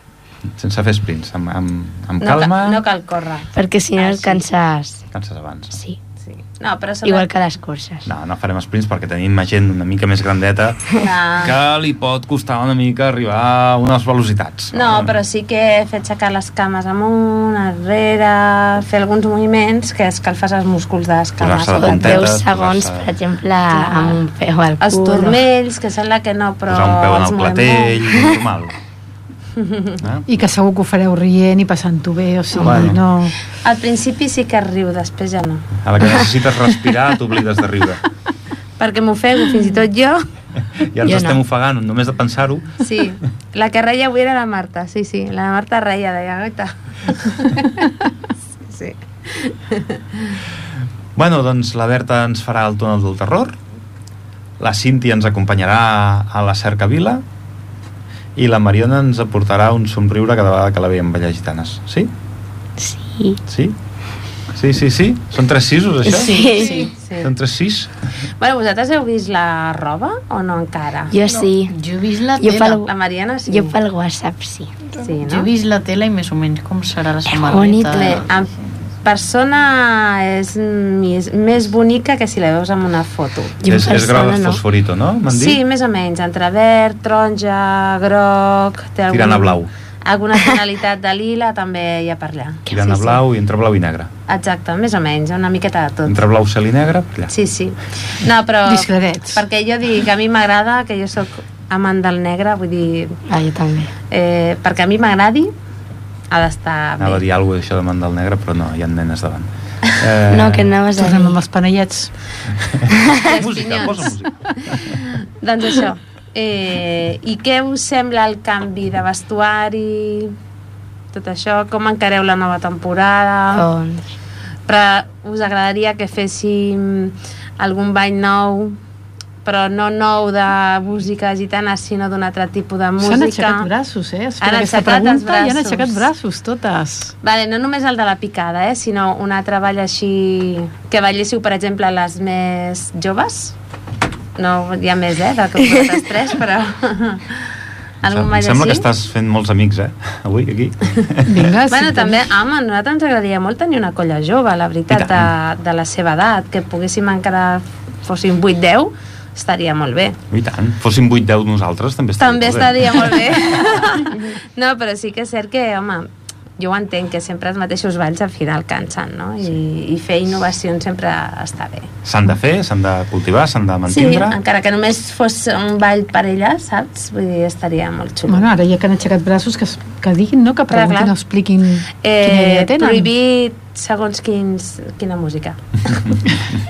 [SPEAKER 1] Sense fer sprints, amb, amb, amb
[SPEAKER 3] No, ca-
[SPEAKER 1] Mm. calma,
[SPEAKER 3] no cal córrer.
[SPEAKER 8] Perquè si no
[SPEAKER 3] Ah,
[SPEAKER 8] et
[SPEAKER 3] sí.
[SPEAKER 8] canses...
[SPEAKER 1] canses abans.
[SPEAKER 8] Sí.
[SPEAKER 3] Sí. No, però sobre...
[SPEAKER 8] Igual que a les curses.
[SPEAKER 1] No, no farem sprints perquè tenim gent una mica més grandeta
[SPEAKER 3] Clar.
[SPEAKER 1] que li pot costar una mica arribar a unes velocitats.
[SPEAKER 3] No, però sí que fer aixecar les cames amunt, enrere, fer alguns moviments que escalfes els músculs de les cames.
[SPEAKER 1] Posar-se de
[SPEAKER 8] O
[SPEAKER 1] puntetes,
[SPEAKER 8] 10 segons,
[SPEAKER 1] posar-se-
[SPEAKER 8] per exemple, amb un peu al cul.
[SPEAKER 3] Els turmells, que sembla que no, però...
[SPEAKER 1] Posar un peu en
[SPEAKER 3] els
[SPEAKER 1] el
[SPEAKER 3] movem
[SPEAKER 1] platell,
[SPEAKER 3] molt.
[SPEAKER 1] normal. eh?
[SPEAKER 3] *laughs*
[SPEAKER 2] I que segur que ho fareu rient i passant-ho bé, o sigui,
[SPEAKER 1] Bueno.
[SPEAKER 2] bueno. no...
[SPEAKER 3] Al principi sí que riu, després ja no.
[SPEAKER 1] A la que necessites respirar, t'oblides de riure.
[SPEAKER 3] Perquè m'ofego fins i tot jo.
[SPEAKER 1] Ja ens
[SPEAKER 8] Jo no.
[SPEAKER 1] estem ofegant, només de pensar-ho.
[SPEAKER 3] *laughs* Sí, la que reia avui era la Marta, sí, sí. La Marta reia, deia, gaita. Sí.
[SPEAKER 1] Bueno, doncs la Berta ens farà el túnel del terror, la Cinti ens acompanyarà a la cercavila i la Mariona ens aportarà un somriure cada vegada que la veiem ballar gitanes. Sí?
[SPEAKER 8] Sí.
[SPEAKER 1] Sí? Sí, sí, sí? Són tres sisos, això?
[SPEAKER 5] Sí, sí.
[SPEAKER 3] sí.
[SPEAKER 1] Són tres sis?
[SPEAKER 3] Bueno, vosaltres heu vist la roba o no encara?
[SPEAKER 8] Jo sí.
[SPEAKER 5] Jo he vist la
[SPEAKER 8] Jo
[SPEAKER 5] tela.
[SPEAKER 8] pel-
[SPEAKER 3] La Mariana sí.
[SPEAKER 8] Jo pel WhatsApp, sí.
[SPEAKER 3] Sí,
[SPEAKER 5] Jo he
[SPEAKER 3] no?
[SPEAKER 5] vist la tela i més o menys com serà la samarreta.
[SPEAKER 8] bonito.
[SPEAKER 3] Bé, en persona és més, més bonica que si la veus en una foto.
[SPEAKER 8] Jo
[SPEAKER 1] és, és grau de fosforito, no? M'han dit?
[SPEAKER 3] Sí, més o menys, entre verd, taronja, groc... Té
[SPEAKER 1] Tirant a blau.
[SPEAKER 3] Alguna tonalitat de lila també hi ha per allà.
[SPEAKER 1] Tirant a blau i entre blau i negre.
[SPEAKER 3] Exacte, més o menys, una miqueta de tot.
[SPEAKER 1] Entre blau, cel i negre, per allà.
[SPEAKER 3] Sí, sí. No, però...
[SPEAKER 2] Discretets.
[SPEAKER 3] Perquè jo dic, a mi m'agrada, que jo sóc amant del negre, vull dir...
[SPEAKER 8] Ah, jo també.
[SPEAKER 3] Eh, perquè a mi m'agradi, ha d'estar
[SPEAKER 1] Anava a
[SPEAKER 3] bé.
[SPEAKER 1] dir alguna cosa d'això de mandar el negre, però no, hi ha nenes
[SPEAKER 3] *laughs*
[SPEAKER 1] davant. Eh,
[SPEAKER 8] No, que anaves a
[SPEAKER 2] Tornem amb
[SPEAKER 8] dir.
[SPEAKER 2] els panellets.
[SPEAKER 1] "Ah, Eh, Música, posa música.
[SPEAKER 3] Doncs això. Eh, I què us sembla el canvi de vestuari? Tot això, com encareu la nova temporada?
[SPEAKER 8] Doncs,
[SPEAKER 3] Oh. Però us agradaria que féssim algun ball nou, però no nou de música gitana, sinó d'un altre tipus de
[SPEAKER 2] S'han
[SPEAKER 3] música.
[SPEAKER 2] aixecat braços, eh? Espera
[SPEAKER 3] Han
[SPEAKER 2] aquesta
[SPEAKER 3] aixecat els
[SPEAKER 2] pregunta i han
[SPEAKER 3] braços.
[SPEAKER 2] aixecat braços, totes.
[SPEAKER 3] Vale, no només el de la picada, eh, sinó un altre ball així... Que balléssiu, per exemple, les més joves. No hi ha més, eh, del que vosaltres tres, però... *laughs* Algun
[SPEAKER 1] Em
[SPEAKER 3] ball
[SPEAKER 1] sembla
[SPEAKER 3] així?
[SPEAKER 1] que estàs fent molts amics, eh? Avui,
[SPEAKER 3] *laughs*
[SPEAKER 1] aquí.
[SPEAKER 2] Vinga,
[SPEAKER 3] Bueno,
[SPEAKER 2] Ah, sí, doncs.
[SPEAKER 3] també, home, a nosaltres ens agradaria molt tenir una colla jove, la veritat,
[SPEAKER 1] I
[SPEAKER 3] de,
[SPEAKER 1] tant.
[SPEAKER 3] de la seva edat, que poguéssim encara fóssim 8-10, estaria molt bé.
[SPEAKER 1] I tant. Fóssim 8-10 nosaltres, també estaria
[SPEAKER 3] També
[SPEAKER 1] molt bé.
[SPEAKER 3] estaria molt bé. *laughs* no, però sí que és cert que, home, jo ho entenc, que sempre els mateixos balls al final cansen, no? I, i fer innovacions sempre està bé.
[SPEAKER 1] S'han de fer, s'han de cultivar, s'han de
[SPEAKER 3] Sí,
[SPEAKER 1] mantindre.
[SPEAKER 3] encara que només fos un ball per ella, saps? Vull dir, estaria molt xulo.
[SPEAKER 2] Bueno, ara ja que han aixecat braços, que, es- que diguin, no? Que
[SPEAKER 3] Clar,
[SPEAKER 2] preguntin o
[SPEAKER 3] clar.
[SPEAKER 2] expliquin quina
[SPEAKER 3] eh,
[SPEAKER 2] idea tenen.
[SPEAKER 3] prohibit segons quins, quina música.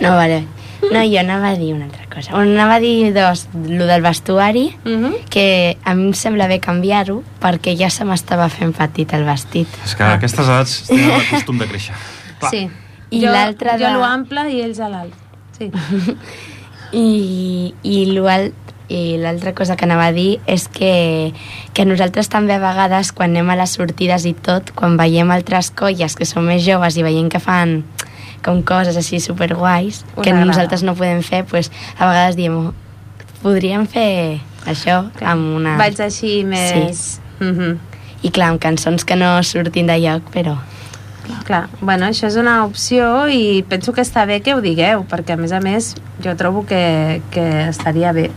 [SPEAKER 8] no, vale. No, jo anava a dir una altra cosa. Bueno, anava a dir, doncs, lo del vestuari,
[SPEAKER 3] Mm
[SPEAKER 2] Mhm.
[SPEAKER 8] que a mi em sembla bé canviar-ho perquè ja se m'estava fent petit el vestit.
[SPEAKER 1] És que a aquestes edats tenen el costum de créixer.
[SPEAKER 2] Mm.
[SPEAKER 1] Clar.
[SPEAKER 3] Sí.
[SPEAKER 8] I
[SPEAKER 3] jo,
[SPEAKER 8] l'altre
[SPEAKER 3] Jo
[SPEAKER 8] de-
[SPEAKER 3] l'ample i ells a l'alt. *laughs* Sí.
[SPEAKER 8] I, i l'al- i l'altra cosa que anava a dir és que, que nosaltres també a vegades quan anem a les sortides i tot, quan veiem altres colles que són més joves i veiem que fan com coses així superguais
[SPEAKER 3] Us
[SPEAKER 8] que
[SPEAKER 3] agrada.
[SPEAKER 8] nosaltres no podem fer, pues, a vegades diem "Oh, podríem fer això amb una...
[SPEAKER 3] Vaig així més... Mhm. Sí.
[SPEAKER 8] I clar, amb cançons que no surtin de lloc, però...
[SPEAKER 3] Clar, bueno, això és una opció i penso que està bé que ho digueu, perquè a més a més jo trobo que, que estaria bé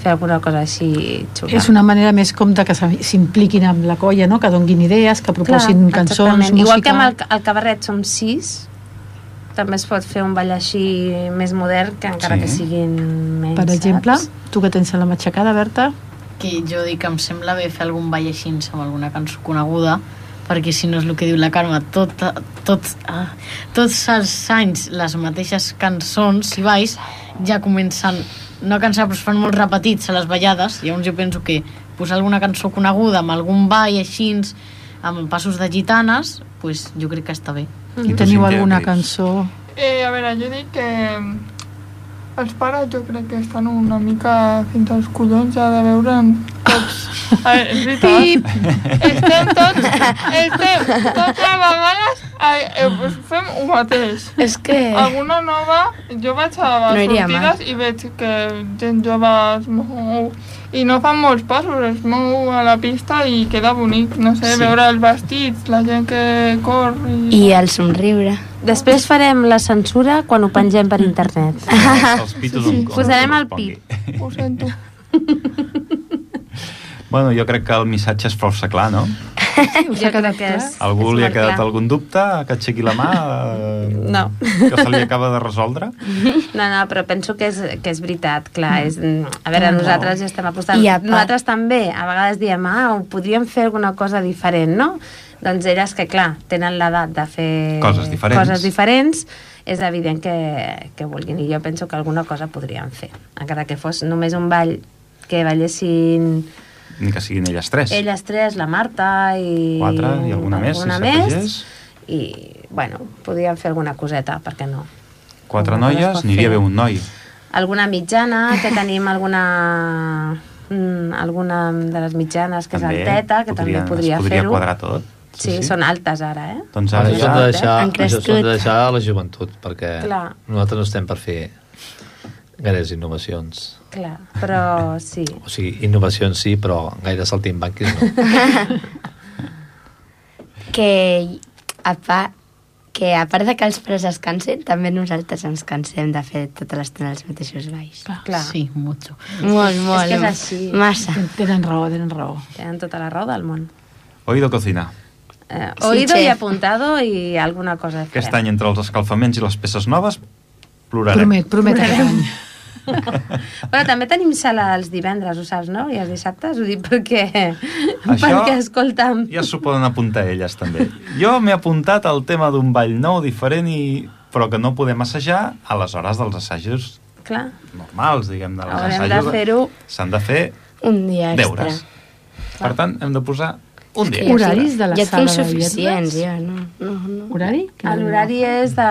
[SPEAKER 3] fer alguna cosa així xula.
[SPEAKER 2] És una manera més com de que s'im- s'impliquin amb la colla, no? que donguin idees, que proposin
[SPEAKER 3] Clar,
[SPEAKER 2] cançons,
[SPEAKER 3] exactament.
[SPEAKER 2] música...
[SPEAKER 3] Igual que amb el, el cabaret som sis, també es pot fer un ball així més modern, que encara
[SPEAKER 1] Sí.
[SPEAKER 3] sí. que siguin menys,
[SPEAKER 2] Per exemple,
[SPEAKER 3] saps?
[SPEAKER 2] tu que tens la matxacada, Berta,
[SPEAKER 5] que jo dic que em sembla bé fer algun ball així amb alguna cançó coneguda perquè si no és el que diu la Carme tot, tot, ah, tots els anys les mateixes cançons i balls ja comencen no a cansar però es fan molt repetits a les ballades llavors jo penso que posar alguna cançó coneguda amb algun ball així amb passos de gitanes pues jo crec que està bé
[SPEAKER 1] I tu,
[SPEAKER 2] teniu
[SPEAKER 1] Cíntia,
[SPEAKER 2] alguna
[SPEAKER 1] què dius?
[SPEAKER 2] cançó?
[SPEAKER 4] Eh, a veure, jo dic que mm, els pares jo crec que estan una mica fins als collons ja de veure tots.
[SPEAKER 8] *laughs*
[SPEAKER 4] A veure, és veritat. Estem tots, estem tots a vegades, a, eh, pues fem ho mateix.
[SPEAKER 8] És que...
[SPEAKER 4] Alguna nova, jo vaig a
[SPEAKER 8] Eh. No
[SPEAKER 4] les
[SPEAKER 8] iria mal.
[SPEAKER 4] sortides i veig que gent jove es mou i no fan molts passos, es mou a la pista i queda bonic, no sé,
[SPEAKER 5] Sí.
[SPEAKER 4] veure els vestits, la gent que cor i...
[SPEAKER 8] I el somriure.
[SPEAKER 3] Després farem la censura quan ho pengem
[SPEAKER 2] Mm.
[SPEAKER 3] per internet.
[SPEAKER 1] *laughs* Els pitos on, on
[SPEAKER 3] Posarem el
[SPEAKER 1] correspongui.
[SPEAKER 4] Ho sento.
[SPEAKER 1] *laughs* Bueno, jo crec que el missatge és força clar, no?
[SPEAKER 3] jo crec que és...
[SPEAKER 1] Algú
[SPEAKER 3] és
[SPEAKER 1] li ha
[SPEAKER 3] molt
[SPEAKER 1] quedat
[SPEAKER 3] clar.
[SPEAKER 1] algun dubte? Que aixequi la mà? eh,
[SPEAKER 3] *laughs* No.
[SPEAKER 1] Que se li acaba de resoldre?
[SPEAKER 3] No, no, però penso que és, que és veritat, clar. És, a veure,
[SPEAKER 8] Tenen
[SPEAKER 3] nosaltres ja estem apostant...
[SPEAKER 8] I a part-
[SPEAKER 3] Nosaltres també, a vegades diem, ah, ho podríem fer alguna cosa diferent, no? Doncs elles que, clar, tenen l'edat de fer...
[SPEAKER 1] Coses diferents.
[SPEAKER 3] Coses diferents, és evident que, que vulguin. I jo penso que alguna cosa podríem fer. Encara que fos només un ball que ballessin
[SPEAKER 1] Ni que siguin elles tres.
[SPEAKER 3] elles tres, la Marta i...
[SPEAKER 1] Quatre i alguna més, si
[SPEAKER 3] alguna
[SPEAKER 1] s'afegeix.
[SPEAKER 3] I, bueno, podríem fer alguna coseta, per què no?
[SPEAKER 1] Quatre
[SPEAKER 3] Alguna cosa es
[SPEAKER 1] noies,
[SPEAKER 3] pot
[SPEAKER 1] aniria
[SPEAKER 3] fer.
[SPEAKER 1] bé un noi.
[SPEAKER 3] alguna mitjana,
[SPEAKER 1] *laughs*
[SPEAKER 3] que tenim alguna mm, alguna de les mitjanes que és alteta, que també podria,
[SPEAKER 1] es podria
[SPEAKER 3] fer-ho.
[SPEAKER 1] quadrar tot.
[SPEAKER 3] Sí, sí, són altes ara, eh?
[SPEAKER 1] Doncs
[SPEAKER 6] Ara
[SPEAKER 1] ara
[SPEAKER 6] això
[SPEAKER 1] ja...
[SPEAKER 6] s'ha de
[SPEAKER 2] eh?
[SPEAKER 6] deixar, això
[SPEAKER 8] Encrestut.
[SPEAKER 6] s'ha de deixar a la joventut, perquè
[SPEAKER 3] Clar.
[SPEAKER 6] nosaltres no estem per fer gaires innovacions.
[SPEAKER 3] Clar, però sí.
[SPEAKER 6] O sigui, innovacions sí, però gaire saltimbanquis no.
[SPEAKER 2] *laughs*
[SPEAKER 8] que a part que a part de que els pares es cansen, també nosaltres ens cansem de fer tota l'estona els mateixos balls.
[SPEAKER 3] Clar.
[SPEAKER 5] sí, mucho
[SPEAKER 8] Molt, molt.
[SPEAKER 3] És que és així.
[SPEAKER 8] Massa.
[SPEAKER 2] Tenen raó, tenen raó.
[SPEAKER 3] Tenen tota la raó del món.
[SPEAKER 1] Oído cocina.
[SPEAKER 3] Eh,
[SPEAKER 8] Sí,
[SPEAKER 3] oído
[SPEAKER 8] chef.
[SPEAKER 3] i apuntado i alguna cosa farem.
[SPEAKER 1] Aquest any, entre els escalfaments i les peces noves, plorarem.
[SPEAKER 2] Promet, promet aquest any.
[SPEAKER 3] Bueno, també tenim sala els divendres, ho saps, no? I els dissabtes, ho dic perquè...
[SPEAKER 1] Això
[SPEAKER 3] *laughs* perquè, escolta'm...
[SPEAKER 1] Ja s'ho poden apuntar elles, també. Jo m'he apuntat al tema d'un ball nou, diferent, i però que no podem assajar a les hores dels assajos
[SPEAKER 3] Clar,
[SPEAKER 1] normals, diguem, de les
[SPEAKER 3] Haurem de
[SPEAKER 1] assajos.
[SPEAKER 3] fer-ho.
[SPEAKER 1] S'han de fer
[SPEAKER 8] Un dia extra.
[SPEAKER 1] deures. Per tant, hem de posar un dia.
[SPEAKER 8] Ja
[SPEAKER 2] Horaris
[SPEAKER 8] tinc-
[SPEAKER 2] de la
[SPEAKER 8] ja
[SPEAKER 2] sala de
[SPEAKER 8] tinc suficients,
[SPEAKER 2] lletres?
[SPEAKER 8] jo, no, no, no.
[SPEAKER 2] Horari?
[SPEAKER 3] l'horari és de...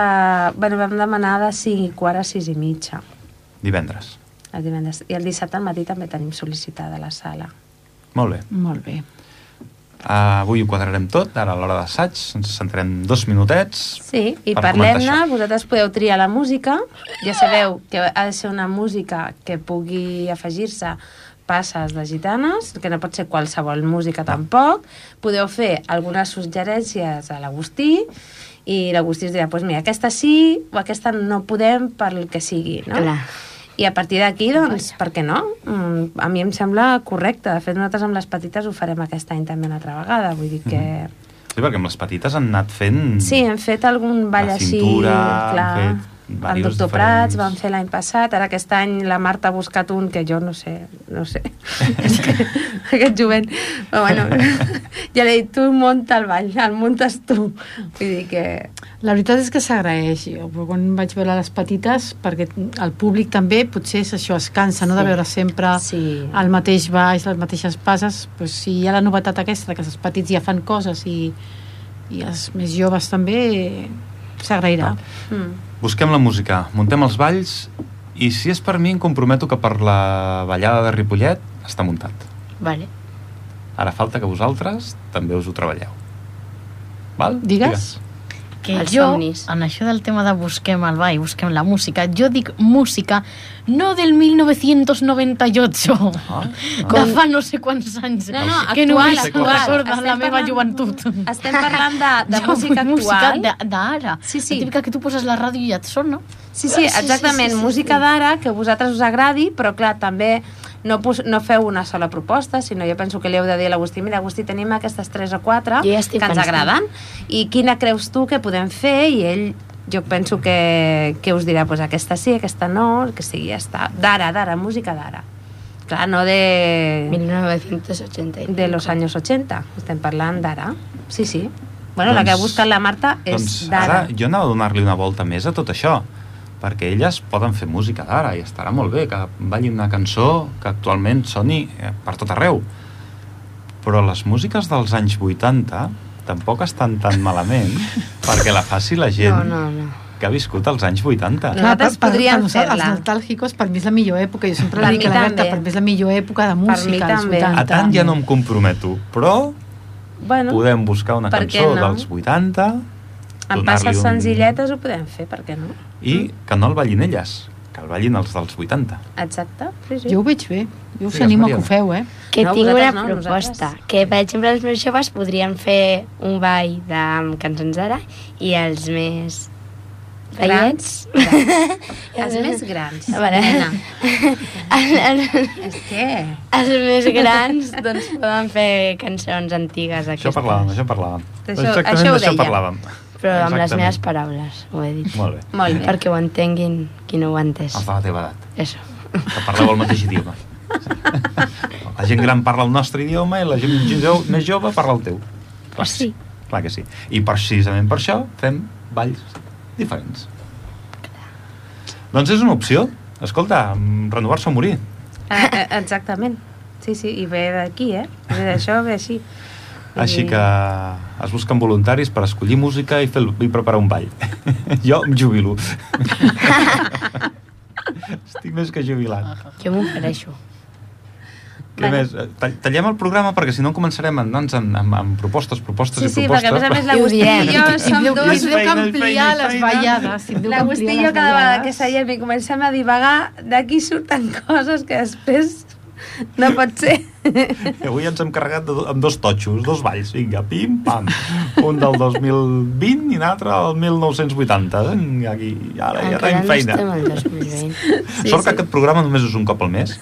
[SPEAKER 3] Bueno, vam demanar de 5 i quart a 6 i mitja.
[SPEAKER 1] Divendres.
[SPEAKER 3] El divendres. I el dissabte al matí també tenim sol·licitada la sala.
[SPEAKER 1] Molt bé.
[SPEAKER 2] Molt bé.
[SPEAKER 1] Uh, avui ho quadrarem tot, ara a l'hora d'assaig, ens centrem dos minutets.
[SPEAKER 3] Sí,
[SPEAKER 1] Per
[SPEAKER 3] i
[SPEAKER 1] comentar
[SPEAKER 3] parlem-ne,
[SPEAKER 1] això.
[SPEAKER 3] vosaltres podeu triar la música, ja sabeu que ha de ser una música que pugui afegir-se passes de gitanes, que no pot ser qualsevol música tampoc, podeu fer algunes suggerències a l'Agustí, i l'Agustí us dirà, doncs mira, aquesta sí, o aquesta no podem pel que sigui, no?
[SPEAKER 8] Clar.
[SPEAKER 3] I a partir d'aquí, doncs, per què no? Mm, a mi em sembla correcte. De fet, nosaltres amb les petites ho farem aquest any també una altra vegada. Vull dir que...
[SPEAKER 1] Mhm.
[SPEAKER 3] Mm.
[SPEAKER 1] Sí, perquè amb les petites han anat fent...
[SPEAKER 3] Sí, hem fet algun ball
[SPEAKER 1] la
[SPEAKER 3] així...
[SPEAKER 1] cintura,
[SPEAKER 3] clar.
[SPEAKER 1] han fet
[SPEAKER 3] el
[SPEAKER 1] diversos
[SPEAKER 3] doctor Prats
[SPEAKER 1] diferents.
[SPEAKER 3] vam fer l'any passat, ara aquest any la Marta ha buscat un que jo no sé, no
[SPEAKER 1] *laughs*
[SPEAKER 3] sé. és que aquest jovent... Però bueno, ja l'he dit, tu munta el ball, el muntes tu. Vull dir que...
[SPEAKER 2] La veritat és que s'agraeix. Jo quan vaig veure les petites, perquè el públic també potser és això, es cansa, no?, de
[SPEAKER 3] Sí.
[SPEAKER 2] veure
[SPEAKER 3] Ah.
[SPEAKER 2] sempre
[SPEAKER 3] Sí.
[SPEAKER 2] el mateix baix, les mateixes passes. Doncs si hi ha la novetat aquesta, que els petits ja fan coses i, i els més joves també,
[SPEAKER 1] Ah,
[SPEAKER 2] s'agrairà.
[SPEAKER 3] Mm.
[SPEAKER 1] Busquem la música, muntem els balls i si és per mi em comprometo que per la ballada de Ripollet està muntat.
[SPEAKER 5] Vale.
[SPEAKER 1] Ara falta que vosaltres també us ho treballeu. Val?
[SPEAKER 2] Digues?
[SPEAKER 5] que
[SPEAKER 8] Els
[SPEAKER 5] jo,
[SPEAKER 8] somnis.
[SPEAKER 5] en això del tema de busquem el ball, busquem la música, jo dic música no del 1998,
[SPEAKER 1] Ah,
[SPEAKER 5] de fa no sé quants anys,
[SPEAKER 3] No, no,
[SPEAKER 5] que
[SPEAKER 3] actual,
[SPEAKER 5] només
[SPEAKER 1] actual.
[SPEAKER 5] em recorda
[SPEAKER 3] Estem
[SPEAKER 5] la meva
[SPEAKER 3] parlant-
[SPEAKER 5] joventut.
[SPEAKER 3] Estem parlant de, *laughs* de
[SPEAKER 5] Jo
[SPEAKER 3] música
[SPEAKER 5] vull
[SPEAKER 3] actual.
[SPEAKER 5] música de- d'ara.
[SPEAKER 3] Sí, sí.
[SPEAKER 5] La típica que tu poses la ràdio i ja et sona.
[SPEAKER 3] Sí, sí, exactament.
[SPEAKER 5] sí, sí, sí.
[SPEAKER 3] música d'ara que a vosaltres us agradi, però clar, també no, pos, no feu una sola proposta, sinó jo penso que li heu de dir a l'Agustí, mira, Agustí, tenim aquestes 3 o 4
[SPEAKER 8] Jo
[SPEAKER 3] que
[SPEAKER 8] ja
[SPEAKER 3] ens
[SPEAKER 8] estic pensant.
[SPEAKER 3] agraden, i quina creus tu que podem fer? I ell jo penso que, que us dirà, pues, aquesta sí, aquesta no, el que sigui, ja està. D'ara, d'ara, música d'ara. Clar, no de,
[SPEAKER 8] 1980.
[SPEAKER 3] de los anys 80, estem parlant d'ara. Sí, sí. Bueno, la que ha
[SPEAKER 1] Doncs-
[SPEAKER 3] buscat la Marta és
[SPEAKER 1] doncs
[SPEAKER 3] d'ara.
[SPEAKER 1] ara jo anava a donar-li una volta més a tot això, perquè elles poden fer música d'ara i estarà molt bé que ballin una cançó que actualment soni eh, per tot arreu. Però les músiques dels anys 80 tampoc estan tan
[SPEAKER 3] *laughs*
[SPEAKER 1] malament perquè la faci la
[SPEAKER 8] No,
[SPEAKER 1] gent
[SPEAKER 8] no, no.
[SPEAKER 1] que ha viscut els anys 80.
[SPEAKER 3] No. Nosaltres podríem
[SPEAKER 2] per, nosaltres,
[SPEAKER 3] fer-la.
[SPEAKER 2] Els nostàlgicos, per mi és la millor època. Jo sempre
[SPEAKER 3] Per
[SPEAKER 2] dic
[SPEAKER 3] mi
[SPEAKER 2] a la Berta,
[SPEAKER 3] també.
[SPEAKER 2] per mi és la millor època de
[SPEAKER 3] mi
[SPEAKER 2] música. als
[SPEAKER 3] també.
[SPEAKER 2] 80.
[SPEAKER 1] A tant ja no em comprometo, però
[SPEAKER 3] Bueno.
[SPEAKER 1] podem buscar una
[SPEAKER 3] Per què
[SPEAKER 1] cançó
[SPEAKER 3] no?
[SPEAKER 1] dels 80
[SPEAKER 3] Amb
[SPEAKER 1] donar-li
[SPEAKER 3] passes
[SPEAKER 1] un-
[SPEAKER 3] senzilletes ho podem fer, per què no?
[SPEAKER 1] i que no el ballin elles, que el ballin els dels 80.
[SPEAKER 3] Exacte. Sí, sí.
[SPEAKER 2] Jo ho veig bé. Jo us
[SPEAKER 1] Digues,
[SPEAKER 2] animo a que
[SPEAKER 1] Mariona.
[SPEAKER 2] ho feu, eh?
[SPEAKER 8] Que
[SPEAKER 3] No,
[SPEAKER 8] no, tinc
[SPEAKER 3] vosaltres
[SPEAKER 8] una
[SPEAKER 3] no,
[SPEAKER 8] no,
[SPEAKER 3] nosaltres.
[SPEAKER 8] proposta, que per exemple els més joves podrien fer un ball de amb cançons d'ara i els més *laughs*
[SPEAKER 3] Grans.
[SPEAKER 8] veients
[SPEAKER 3] Els més grans.
[SPEAKER 8] A veure.
[SPEAKER 3] Nena,
[SPEAKER 8] els,
[SPEAKER 3] és que...
[SPEAKER 8] els més grans doncs poden fer cançons antigues
[SPEAKER 1] Això
[SPEAKER 8] aquestes,
[SPEAKER 1] parlàvem, això parlàvem.
[SPEAKER 3] D'això-
[SPEAKER 1] Exactament
[SPEAKER 3] això ho
[SPEAKER 1] d'això
[SPEAKER 3] deia.
[SPEAKER 1] parlàvem.
[SPEAKER 8] però amb les
[SPEAKER 1] Exactament.
[SPEAKER 8] meves paraules ho he dit,
[SPEAKER 1] Molt bé.
[SPEAKER 3] Molt bé.
[SPEAKER 8] perquè ho entenguin qui no ho ha entès
[SPEAKER 1] Els de la teva edat,
[SPEAKER 8] Això.
[SPEAKER 1] que parleu el mateix
[SPEAKER 3] *laughs*
[SPEAKER 1] idioma. La gent gran parla el nostre idioma i la gent jo- més jove parla el teu. Clar que sí. Clar que sí. I precisament per això fem balls diferents. Doncs és una opció. Escolta, mm, renovar-se o morir.
[SPEAKER 3] Ah, eh, exactament. Sí, sí, i ve d'aquí, eh? Ve d'això, ve així. Vull
[SPEAKER 1] Així
[SPEAKER 3] dir-
[SPEAKER 1] que es busquen voluntaris per escollir música i, fer, el- i preparar un ball. *laughs* jo em
[SPEAKER 3] *laughs*
[SPEAKER 1] jubilo. Estic més que jubilant.
[SPEAKER 8] Jo m'ofereixo.
[SPEAKER 1] Què
[SPEAKER 3] Vale.
[SPEAKER 1] més? Eh, tall- Tallem el programa perquè si no començarem a anar-nos amb, amb, amb propostes, propostes
[SPEAKER 3] Sí,
[SPEAKER 1] i
[SPEAKER 3] sí,
[SPEAKER 1] propostes.
[SPEAKER 3] perquè a més a més
[SPEAKER 8] I ho
[SPEAKER 3] l'Agustí
[SPEAKER 8] diem.
[SPEAKER 3] i jo som
[SPEAKER 2] Tindreu,
[SPEAKER 3] dos...
[SPEAKER 1] feina,
[SPEAKER 2] tindreu
[SPEAKER 1] és
[SPEAKER 2] que
[SPEAKER 1] feina,
[SPEAKER 2] ampliar
[SPEAKER 1] és
[SPEAKER 2] les
[SPEAKER 1] feina.
[SPEAKER 2] ballades. tindreu que
[SPEAKER 3] L'Agustí i
[SPEAKER 2] ampliar
[SPEAKER 3] jo
[SPEAKER 2] les
[SPEAKER 3] cada vegada
[SPEAKER 2] ballades.
[SPEAKER 3] que seiem i comencem a divagar, d'aquí surten *laughs* coses que després no pot ser.
[SPEAKER 1] I Eh, Avui ens hem carregat de, do- amb dos totxos, dos balls, vinga, pim, pam. Un del 2020 i l'altre del 1980. Vinga, Aquí, ara ja
[SPEAKER 8] Encara
[SPEAKER 1] tenim
[SPEAKER 8] no
[SPEAKER 1] feina.
[SPEAKER 8] estem al 2020.
[SPEAKER 1] Sí, Sort que aquest programa només és un cop al mes,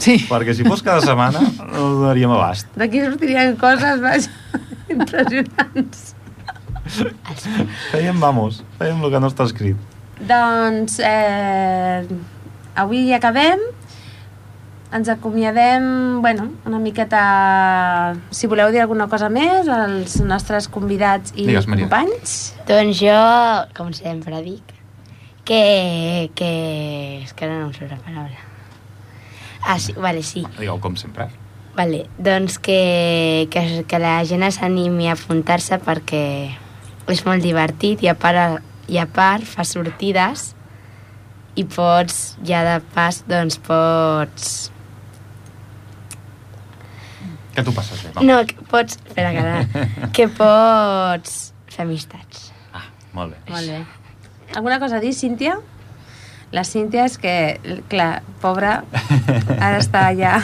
[SPEAKER 2] Sí.
[SPEAKER 1] perquè si fos cada setmana no ho donaríem abast.
[SPEAKER 3] D'aquí sortirien coses, vaja, *laughs* impressionants.
[SPEAKER 1] Fèiem, vamos, fèiem el que no està escrit.
[SPEAKER 3] Doncs eh, avui hi acabem. Ens acomiadem, bueno, una miqueta... Si voleu dir alguna cosa més, als nostres convidats i
[SPEAKER 1] Digues, Maria.
[SPEAKER 3] companys.
[SPEAKER 8] doncs jo, com sempre dic, que... que... és que ara no em surt la paraula. Ah, sí, vale, sí.
[SPEAKER 1] Digueu, com sempre.
[SPEAKER 8] Vale, doncs que, que, que la gent s'animi a apuntar-se perquè és molt divertit i a part, i a part fa sortides i pots, ja de pas, doncs pots...
[SPEAKER 1] Que tu passes bé, va.
[SPEAKER 8] No, que pots... Espera, que ara... que pots fer amistats.
[SPEAKER 1] Ah, molt bé.
[SPEAKER 3] Molt bé. Alguna cosa a dir, Cíntia? La Cíntia és que, clar, pobra, ara està ja...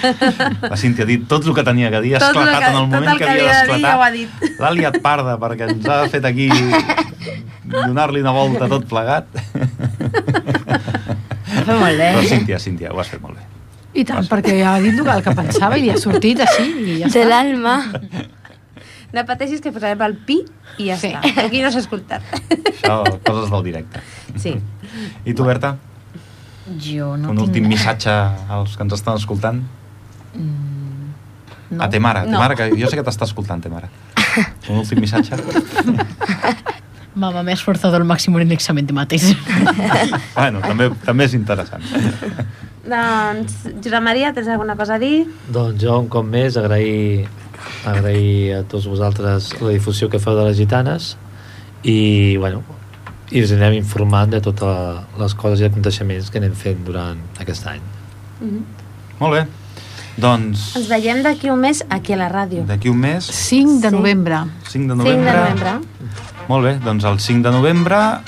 [SPEAKER 1] *laughs* La Cíntia ha dit tot el que tenia que dir, ha
[SPEAKER 3] Tot el
[SPEAKER 1] esclatat
[SPEAKER 3] que-
[SPEAKER 1] en el
[SPEAKER 3] tot
[SPEAKER 1] moment
[SPEAKER 3] el
[SPEAKER 1] que
[SPEAKER 3] que
[SPEAKER 1] havia
[SPEAKER 3] havia de dir ja ho ha
[SPEAKER 1] d'esclatar.
[SPEAKER 3] dit.
[SPEAKER 1] L'ha liat parda perquè ens ha fet aquí donar-li una volta tot plegat.
[SPEAKER 8] Ho fa molt
[SPEAKER 1] Però
[SPEAKER 8] bé.
[SPEAKER 1] Cíntia, Cíntia, ho has fet molt bé.
[SPEAKER 2] I tant, perquè ha dit el que pensava i li ha sortit així i ja
[SPEAKER 8] De
[SPEAKER 2] està.
[SPEAKER 8] l'alma.
[SPEAKER 3] No pateixis que posarem el pi i ja sí.
[SPEAKER 9] Sí.
[SPEAKER 3] està. Aquí no s'ha escoltat.
[SPEAKER 1] Això, coses del directe.
[SPEAKER 3] Sí.
[SPEAKER 1] I tu, Berta,
[SPEAKER 5] Jo no
[SPEAKER 1] un
[SPEAKER 5] tinc...
[SPEAKER 1] últim missatge als que ens estan escoltant?
[SPEAKER 5] Mm, no.
[SPEAKER 1] A te mare, a te
[SPEAKER 3] No.
[SPEAKER 1] mare, que jo sé que t'està escoltant, te mare. Un últim missatge.
[SPEAKER 5] Mamá, me ha esforzado al máximo en el examen de mates.
[SPEAKER 1] bueno, també, també és interessant.
[SPEAKER 3] Doncs, Josep Maria, tens alguna cosa a dir?
[SPEAKER 6] Doncs jo un cop més agrair, agrair a tots vosaltres la difusió que feu de les gitanes i, bueno, i us anem informant de totes les coses i aconteixements que anem fent durant aquest any.
[SPEAKER 1] Molt bé. Doncs,
[SPEAKER 3] Ens veiem d'aquí un mes aquí a la ràdio.
[SPEAKER 1] d'aquí un mes,
[SPEAKER 2] 5 de
[SPEAKER 3] Sí.
[SPEAKER 2] novembre.
[SPEAKER 1] 5 de
[SPEAKER 3] 5 de
[SPEAKER 1] novembre.
[SPEAKER 3] novembre.
[SPEAKER 1] Molt bé, doncs el 5 de novembre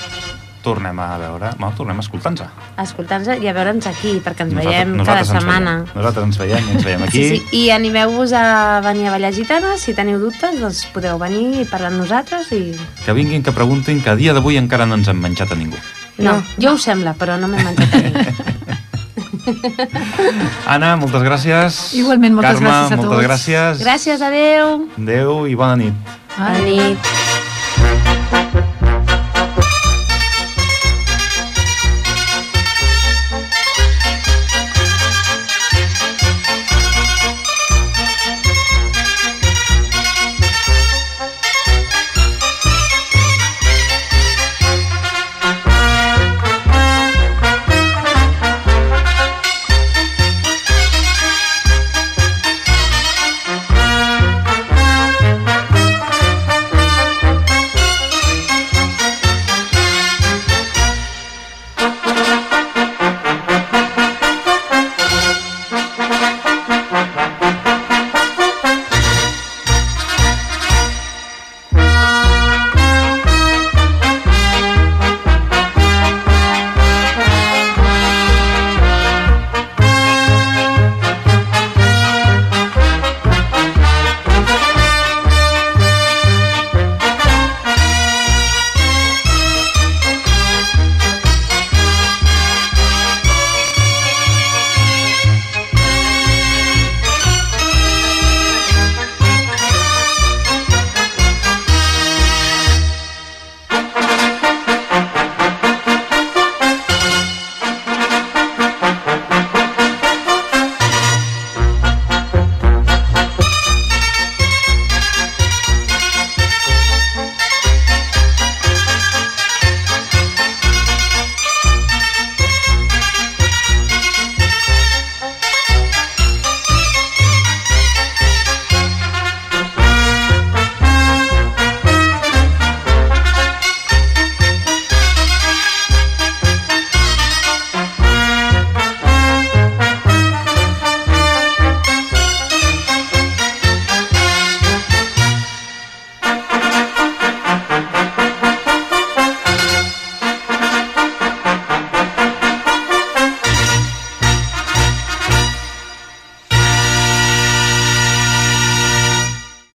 [SPEAKER 1] tornem a veure, no, tornem a escoltar-nos.
[SPEAKER 3] Escolta'ns eh, i a veure'ns aquí, perquè ens veiem cada setmana.
[SPEAKER 1] Ens veiem, nosaltres ens veiem i ens veiem aquí.
[SPEAKER 3] Sí, sí. I animeu-vos a venir a ballar gitana. Si teniu dubtes, doncs podeu venir i parlar amb nosaltres. I...
[SPEAKER 1] Que vinguin, que preguntin, que a dia d'avui encara no ens han menjat a ningú.
[SPEAKER 3] No, jo ho sembla, però no m'he menjat a mi. *laughs*
[SPEAKER 1] Ana, moltes gràcies.
[SPEAKER 2] Igualment, moltes
[SPEAKER 1] Carme,
[SPEAKER 2] gràcies a
[SPEAKER 1] moltes
[SPEAKER 2] tots.
[SPEAKER 1] gràcies.
[SPEAKER 3] Gràcies, adeu.
[SPEAKER 1] Adéu i bona nit.
[SPEAKER 3] Bona nit.